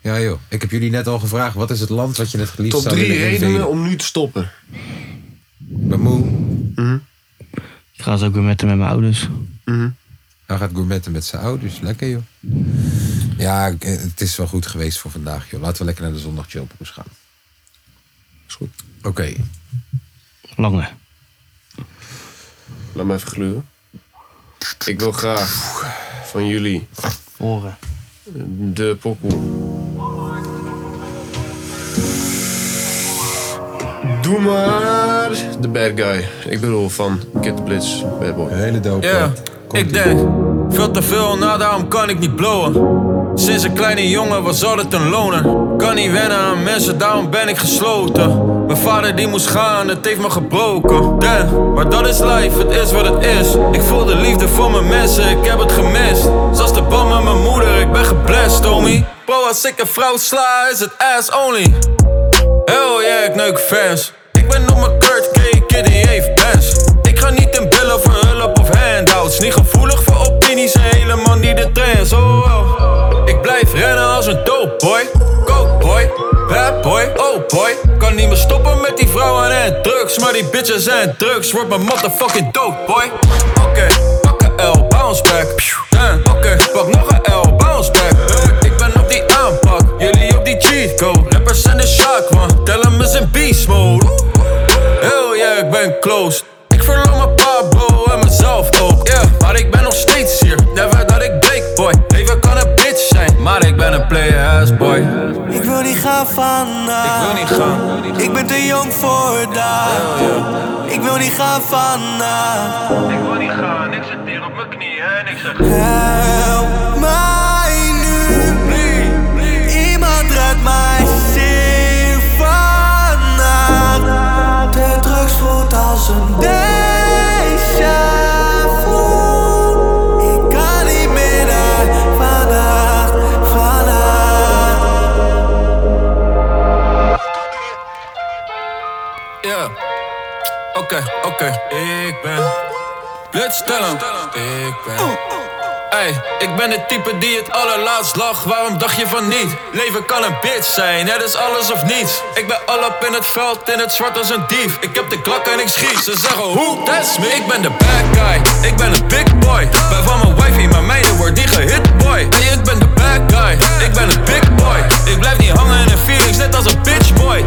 Ja joh, ik heb jullie net al gevraagd, wat is het land wat je het geliefst Top zou drie willen redenen invelen? om nu te stoppen. Ik ben moe. Ik ga ze ook weer met met mijn ouders. Hij gaat gourmetten met zijn ouders, lekker joh. Ja, ik- eh, het is wel goed geweest voor vandaag joh. Laten we lekker naar de zondag chillpoes gaan. Is goed. Oké, Lange. Laat me even gluren. Ik wil graag van jullie Horen. de pokoe. Doe maar de bad guy. Ik bedoel van Kid the Blitz, bad boy. een hele dope. Ja, Komt-ie. ik denk veel te veel, nou daarom kan ik niet blowen. Sinds een kleine jongen was altijd een loner. Kan niet wennen aan mensen, daarom ben ik gesloten. Mijn vader die moest gaan, het heeft me gebroken. Damn, maar dat is life, het is wat het is. Ik voel de liefde voor mijn mensen, ik heb het gemist. Zoals de band met mijn moeder, ik ben geblest, homie. Bro, als ik een vrouw sla, is het ass only. Hell yeah, ik neuk fans. Ik ben op mijn Kurt K, kid die heeft bands. Ik ga niet in billen voor hulp of alles niet gevoelig voor opinies en helemaal niet de trends. Oh, oh. Ik blijf rennen als een dope boy, coke boy, bad boy, oh boy. Kan niet meer stoppen met die vrouwen en drugs, maar die bitches en drugs wordt mijn motherfucking dope boy. Oké, pak een L, bounce back. Pjoe, damn. Oké, pak nog een L, bounce back. Ik ben op die aanpak, jullie op die cheat code. Rappers zijn de shock, man, tel hem eens in beast mode. Hell yeah, ik ben close. Ik verloor mijn Pablo en mezelf ook, yeah. Maar ik ben nog steeds hier, never dat ik break, boy. Leven kan een bitch zijn, maar ik ben een player-ass boy. Ik wil niet gaan vandaag. Ik wil niet gaan. Ik ben te jong voor daar. Ik wil niet gaan vandaag. Ik wil niet gaan. Ik zit hier op mijn knieën en ik zeg. Help mij nu. Iemand redt mij zeer vandaag. De drugs voelt als een déjà vu. Ik kan niet meer naar vandaag, vandaag. Yeah. Oké, oké, ik ben. Let's tell 'em. Ik ben. Ey, ik ben het type die het allerlaatst lag, waarom dacht je van niet? Leven kan een bitch zijn, het is alles of niets. Ik ben al op in het veld, in het zwart als een dief. Ik heb de klak en ik schiet, ze zeggen hoe, that's me. Ik ben de bad guy, ik ben een big boy. Bij van mijn wifey, mijn meiden wordt die gehit boy. Ey, ik ben de bad guy, ik ben een big boy. Ik blijf niet hangen in een feelings, net als een bitch boy.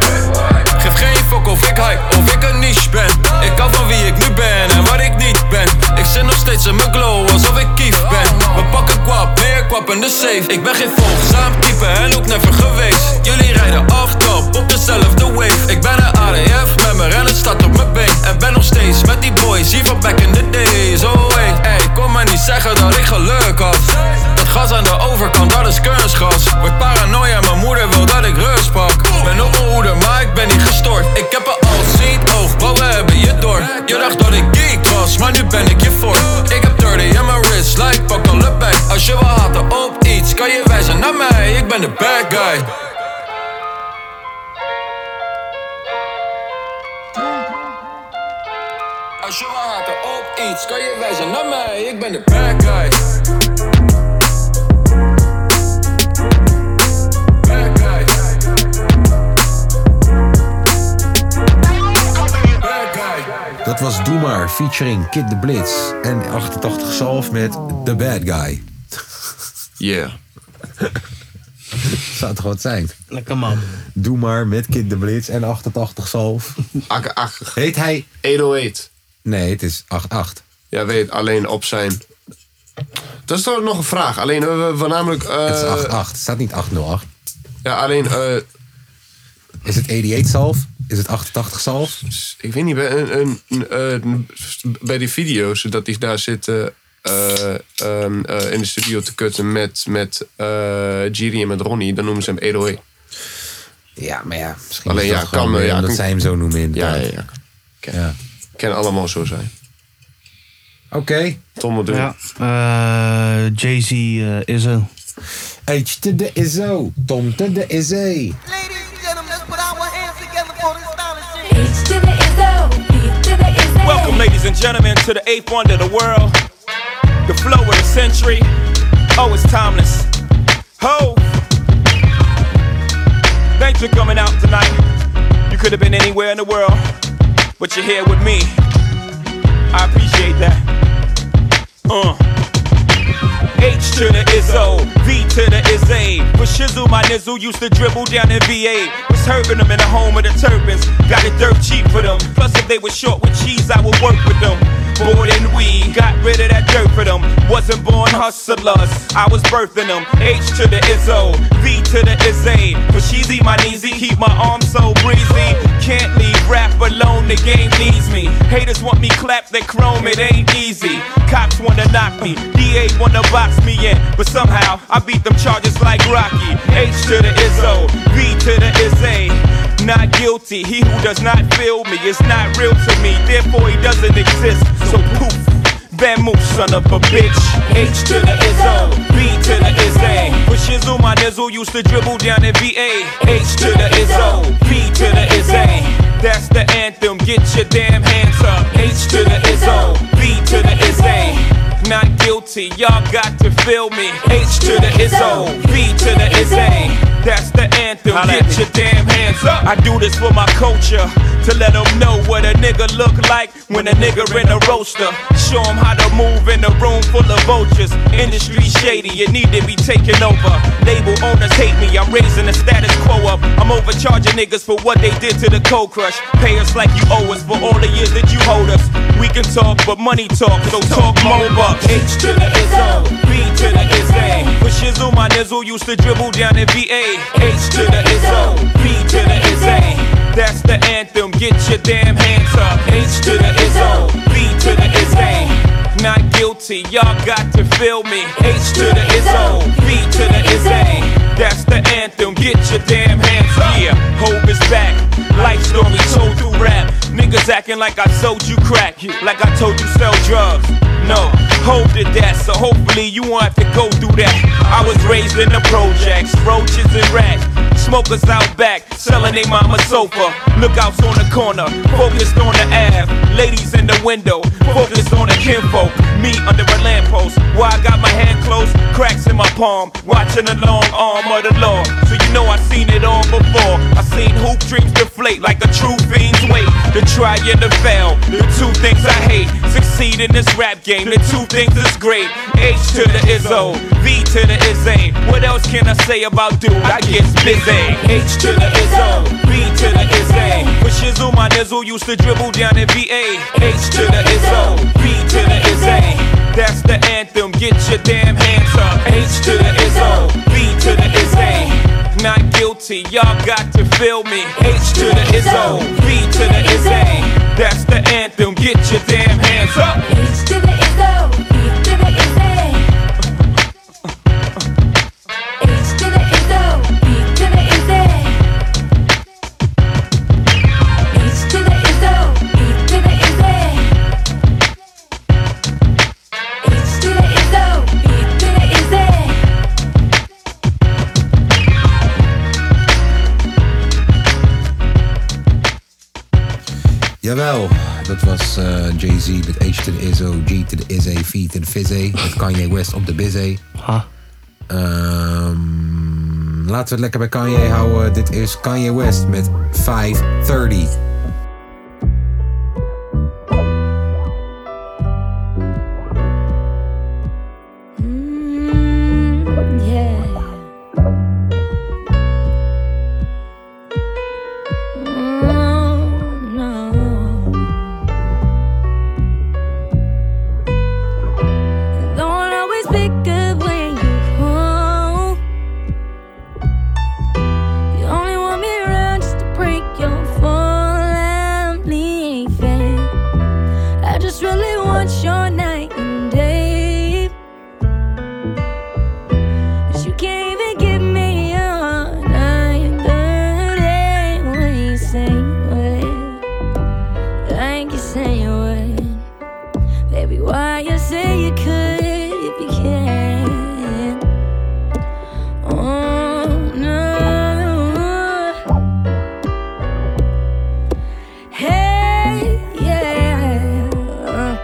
Geef geen fuck of ik hype of ik een niche ben. Ik hou van wie ik nu ben en wat ik niet ben. Ik zit nog steeds in mijn glow alsof ik kief ben. We pakken kwap, meer kwap en de safe. Ik ben geen volgzaam type en ook never geweest. Jullie rijden off-top op dezelfde wave. Ik ben een ADF-member en het staat op mijn been. En ben nog steeds met die boys hier van back in the days. Oh hey, hey, kom maar niet zeggen dat ik geluk had. Dat gas aan de overkant, dat is kunstgas. Word paranoia, mijn moeder wil dat ik rust pak. Ben op mijn hoede, maar ik ben niet gestoord. Ik heb een all-seat oog, wat we hebben je door. Je dacht dat ik geek was, maar nu ben ik je voor. Ik heb 30 in mijn wrist, like pak al een bag. Als je wil haten op iets, kan je wijzen naar mij. Ik ben de bad guy. Als je wil haten op iets, kan je wijzen naar mij. Ik ben de bad guy. Bad guy. Bad guy. Dat was Doe Maar featuring Kid de Blitz. En 88 Salf met The Bad Guy. Yeah. Zou het goed zijn. Lekker man. Doe Maar met Kid de Blitz en 88 Salf. Akke, akke. Heet hij... 108. Nee, het is 88. Ja, weet, alleen op zijn. Dat is toch nog een vraag. Alleen, eh, we, we namelijk... eh, Het is 88. Het staat niet 808. ja, alleen, eh, Is het 88 Salf? Is het 88 Salf? ik weet niet, bij, een, een, een, eh, bij die video's dat die daar zitten eh, ehm, eh, in de studio te kutten met, met eh, Giri en met Ronnie, dan noemen ze hem 108. Ja, maar ja. Misschien Alleen is dat ja, gewoon kan, weer ja, omdat kan- zij hem zo noemen Ja, inderdaad. ja, ja. Ken, Ja. ken allemaal zo zijn. Oké. Tom Modul. Ja. Eh, Jay-Z eh, is er. H to the ISO. Tom to the ISE. Ladies and gentlemen, let's put our hands together for this stylish shit. Welcome, ladies and gentlemen, to the eighth wonder of the world. The flow of the century. Oh, it's timeless. Ho! Thanks for coming out tonight. You could have been anywhere in the world, but you're here with me. I appreciate that. Uh. H to the Izzo, V to the Izzy. For shizzle, my nizzle used to dribble down in VA. Was hurting them in the home of the turbans. Got it dirt cheap for them. Plus, if they were short with cheese, I would work with them. More than we got rid of that dirt for them. Wasn't born hustlers, I was birthing them. H to the Izzo, V to the Izzy. For sheezy, my kneesy, keep my arms so breezy. Can't leave rap alone, the game needs me. Haters want me clapped, they chrome, it ain't easy. Cops wanna knock me, DA wanna box me in. But somehow, I beat them charges like Rocky. H to the Izzo, V to the Izzy. Not guilty, he who does not feel me is not real to me, therefore he doesn't exist. So poof, bam move, son of a bitch. H to the Izzo, B to the Izzy. With shizzle, my nizzle used to dribble down in VA. H to the Izzo, B to the Izzy. That's the anthem, get your damn hands up. H to the Izzo, B to the Izzy. not guilty, y'all got to feel me. H to the ISO, B to the ISA. That's the anthem, get your damn hands up. I do this for my culture, to let them know what a nigga look like when a nigga in a roaster. Show them how to move in a room full of vultures. Industry shady, you need to be taken over. Label owners hate me, I'm raising the status quo up. I'm overcharging niggas for what they did to the cold crush. Pay us like you owe us for all the years that you hold us. We can talk, but money talk, so talk more bucks. H to the ISO, B to the ISA. With Shizzle, my nizzle used to dribble down in VA. H to the ISO, B to the ISA. That's the anthem, get your damn hands up. H to the ISO, B to the ISA. Not guilty, y'all got to feel me. H to the ISO, B to the ISA. That's the anthem, get your damn hands up. Yeah, hope is back. Life story told through rap. Niggas acting like I sold you crack, like I told you sell drugs. No, hope did that, so hopefully you won't have to go through that. I was raised in the projects, roaches and rats. Smokers out back, selling they mama sofa. Lookouts on the corner, focused on the ab. Ladies in the window, focused on the kinfolk. Me under a lamppost, why I got my hand closed, cracks in my palm, watching the long arm of the law. So you know I seen it all before. I seen hoop dreams deflate like a true fiend's weight. The try and the fail, the two things I hate. Succeed in this rap game, the two things is great. H to the ISO, V to the ISA. What else can I say about dude? I get busy. H to the ISO, B to the ISA. With Shizzle, my nizzle used to dribble down in VA. H to the ISO, B to the ISA. That's the anthem, get your damn hands up. H to the ISO, B to the ISA. Not guilty, y'all got to feel me. H to the ISO, B to the ISA. That's the anthem, get your damn hands up. H to the ISO, B to the ISA. Jawel, dat was eh, Jay-Z met H to the Izzo, G to the Izzy, V to the Fizzy. Met Kanye West op de Bizzy. Ehm, laten we het lekker bij Kanye houden. Dit is Kanye West met 530. Mm, Yeah. Oh, no. Don't always pick up when you call. You only want me around just to break your fall. I'm leaving. I just really want your night and day. 'Cause you can't even give me your night and day when you say what, like you say you would. Baby, why you say you could if you can? Oh no. Hey, yeah. Uh,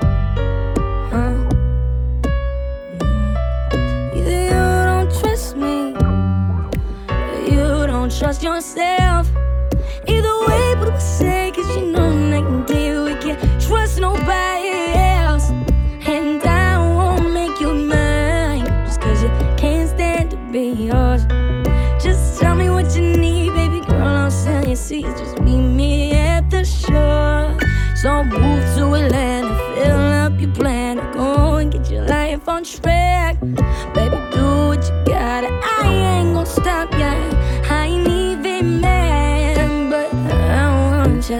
huh. Either you don't trust me, or you don't trust yourself. Either way, but we say, cause you know night and day we can't trust nobody else. And I won't make you mine, just cause you can't stand to be yours. Just tell me what you need, baby girl, I'll sell you seats. Just meet me at the shore. So I move to Atlanta, fill up your plan, go and get your life on track. Baby, do what you gotta. I ain't gonna stop ya. I ain't even mad, but I want ya.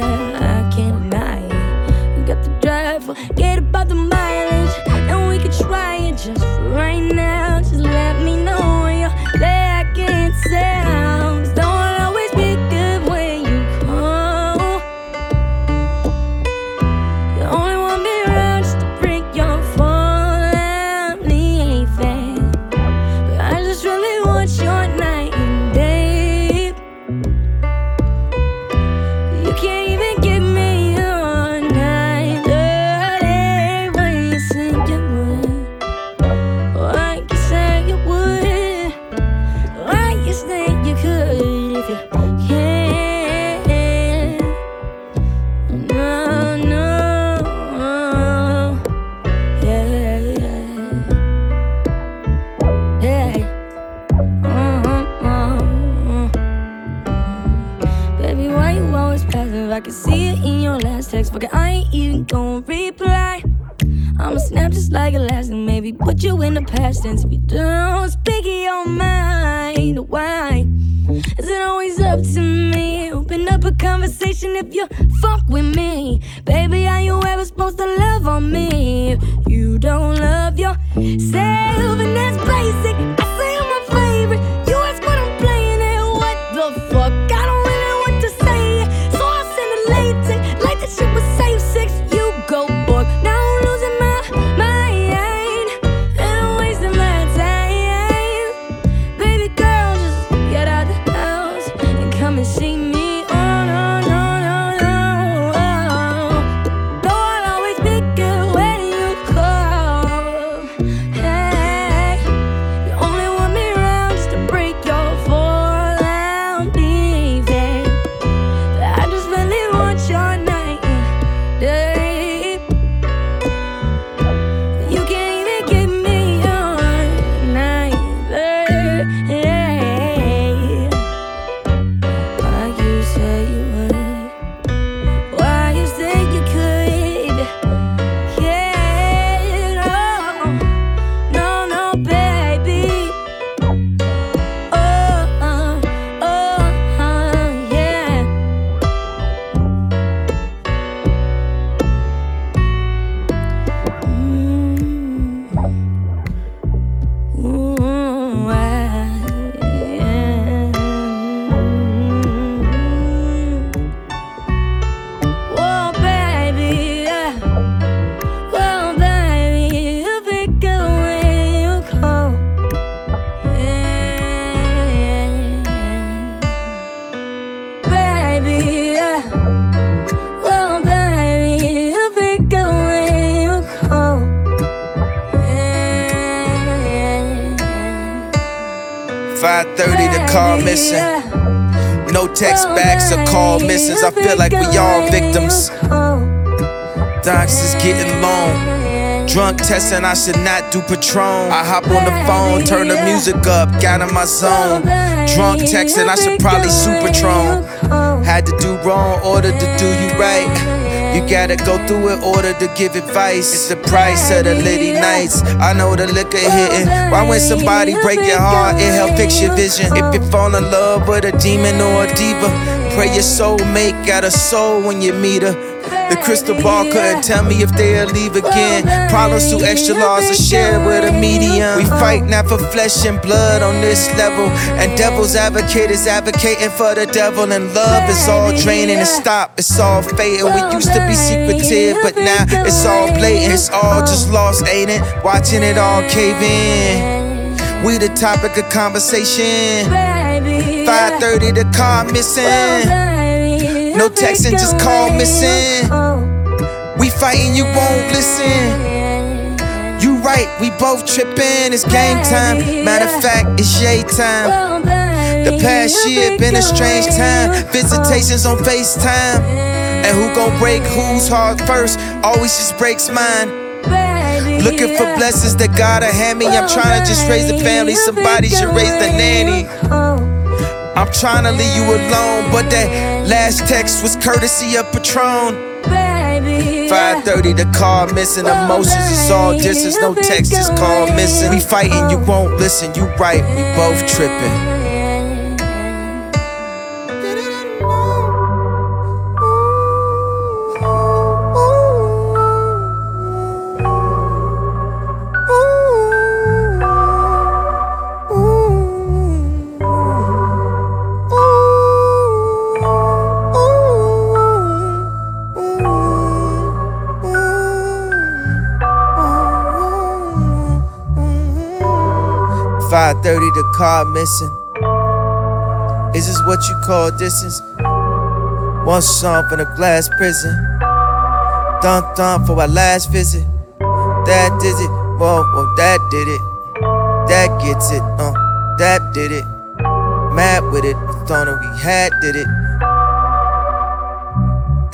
I can't deny it. You got the drive, forget about the mileage, and we could try it just for right now. Just let me know when you're there. I can't tell. 'Cause Don't always be good when you call. You only want me around just to break your fall. I'm leaving. uh-huh, can see it in your last text. Fuck it, I ain't even gonna reply. I'ma snap just like a last and maybe put you in the past tense. If you don't speak your mind, why is it always up to me? Open up a conversation if you fuck with me. Baby, are you ever supposed to love on me? If you don't love yourself, and that's basic. I say I'm a favorite. You ask what I'm playing and what the fuck? I don't really know what to say. So I send a latex like that shit was safe sex. You go book. Now I'm losing my mind and I'm wasting my time. Baby girl, just get out the house and come and see me. Oh no no no no. Though I'll always pick it when you call. Hey, you only want me around just to break your fall out, baby. I just really want your night, babe. You can't even give me your night, babe. Why you say you would? Why you say you could? Yeah, oh. no, no, no, baby. Oh, uh, oh, uh, yeah. Mm-hmm. Ooh, I, yeah. Oh, baby, yeah. Oh, baby, you pick it when you call. Yeah. Baby, yeah. Oh, baby, you pick it when you call. Yeah. 5.30 the car missing. No text backs or call misses. I feel like we all victims. Docs is getting long. Drunk testing, I should not do Patron. I hop on the phone, turn the music up, got in my zone. Drunk texting, I should probably shoot Patron. Had to do wrong, order to do you right. You gotta go through it, order to give advice. It's the price of the litty nights. I know the liquor hitting. Why when somebody break your heart, it help fix your vision. If you fall in love with a demon or a diva, pray your soulmate got a soul when you meet her. The crystal ball couldn't tell me if they'll leave again. Problems too extra laws are shared with a medium. We fight not for flesh and blood on this level. And devil's advocate is advocating for the devil. And love is all draining and stop. It's all fading. We used to be secretive, but now it's all blatant. It's all just lost, ain't it? Watching it all cave in. We the topic of conversation. 5:30 the car missing. No texting, just call missing. We fighting, you won't listen. You right, we both tripping. It's game time. Matter of fact, it's yay time. The past year been a strange time. Visitations on FaceTime. And who gon' break whose heart first? Always just breaks mine. Looking for blessings that God will hand me. I'm trying to just raise a family. Somebody should raise the nanny. I'm trying to leave you alone, but that last text was courtesy of Patron. 5:30, the car missing. Emotions is all distance, no text, just call missing. We fighting, you won't listen. You right, we both tripping. Five thirty, the car missing. Is this what you call distance? One song from a glass prison. Dun dun for our last visit. That did it. Whoa, whoa, that did it. That gets it. Uh, that did it. Mad with it. Thought that we had did it.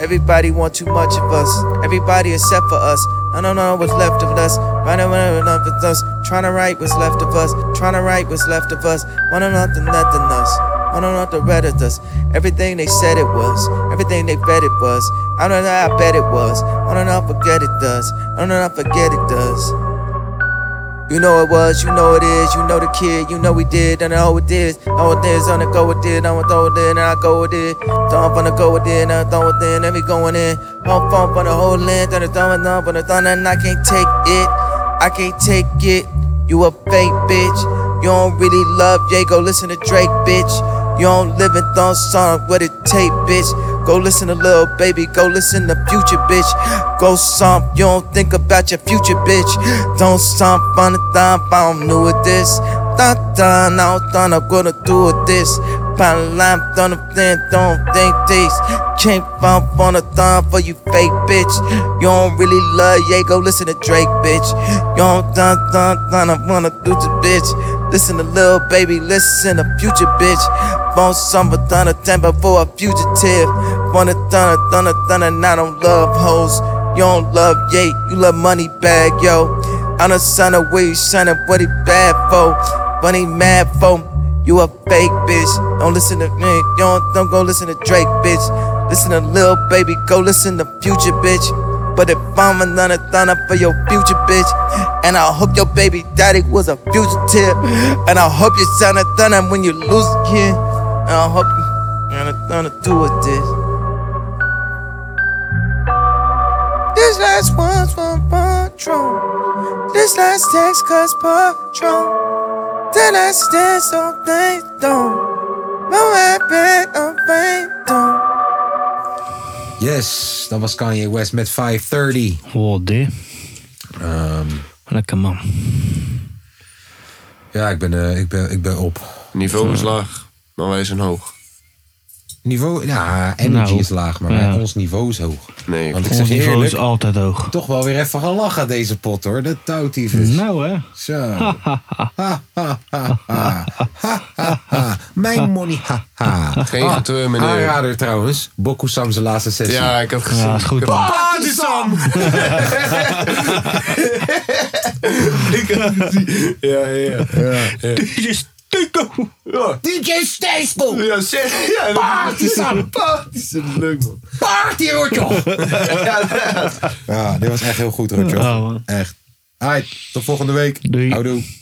Everybody want too much of us. Everybody except for us. I don't know what's left of us. Running around left of us. Trying to write what's left of us. Trying to write what's left of us. Wanna nothing, nothing us. I don't know what the Reddit does. Everything they said it was. Everything they bet it was. I don't know how I bet it was. I don't know how I forget it does. I don't know how I forget it does. You know it was, you know it is, you know the kid, you know we did, and I know it is. I want this, I'm gonna go with it, I'm gonna throw it in, and I go with it. Thump, I'm gonna go with it, and I throw it in, and we going in. Pump, pump, on the whole land, and I throw it up, and I throw it in, I can't take it. I can't take it. You a fake bitch. You don't really love, yeah, go listen to Drake, bitch. You don't live in thong song with a tape, bitch. Go listen to Lil Baby, go listen to Future, bitch. Go stomp, you don't think about your future, bitch. Don't stomp on the thump, I don't know what this. Dun dun, I don't think I'm gonna do with this. Pound lime, dun then don't think this. Can't bump on the thumb for you fake bitch. You don't really love, yeah, go listen to Drake, bitch. You don't dun dun dun, I wanna do this, bitch. Listen to Lil Baby, listen to Future, bitch. Bone summer, thunder, temper for a fugitive. Wanna thunder, thunder, thunder, and I don't love hoes. You don't love, yeah, you love money bag, yo. I'm the son of where you son of what he bad for. Bunny mad for. You a fake bitch. Don't listen to me. You don't, don't go listen to Drake, bitch. Listen to Lil Baby. Go listen to Future, bitch. But if I'm another thunder for your future, bitch. And I hope your baby daddy was a fugitive. And I hope you sound a thunder when you lose a kid. And I hope you and a thunder do with this. This last one's from Patron. This last text cause Patron. Then I stand so they don't. No habit of faith don't. Yes, dat was Kanye West met 530. Wow, D. Ehm. Lekker man. Ja, ik ben, eh, ik ben, ik ben op. Niveau is laag, maar wij zijn hoog. Niveau, ja, energy Nou, is laag, maar ja. ons niveau is hoog. Nee, Want ik Ons zeg je niveau eerlijk, is altijd hoog. toch wel weer even gaan lachen deze pot hoor, de touwtyfus. Nou hè. Zo. Ha, ha, ha, ha, ha. Ha, ha. Mijn money, ha, ha. Ah, Geen getreur, meneer. Aanrader trouwens, Boku Sam zijn laatste sessie. Ja, ik had gezien. Ik had- Pakistan! ik had gezien. Ja, ja, ja. DJ Steko. DJ Stesco. Ja, zeg. Ja, Partisan. Partisan. Leuk man. Party, Rotjoch. ja, Nou. Ja, dit was echt heel goed, Rotjoch. Echt. Alright, tot volgende week. Doei. Houdoe.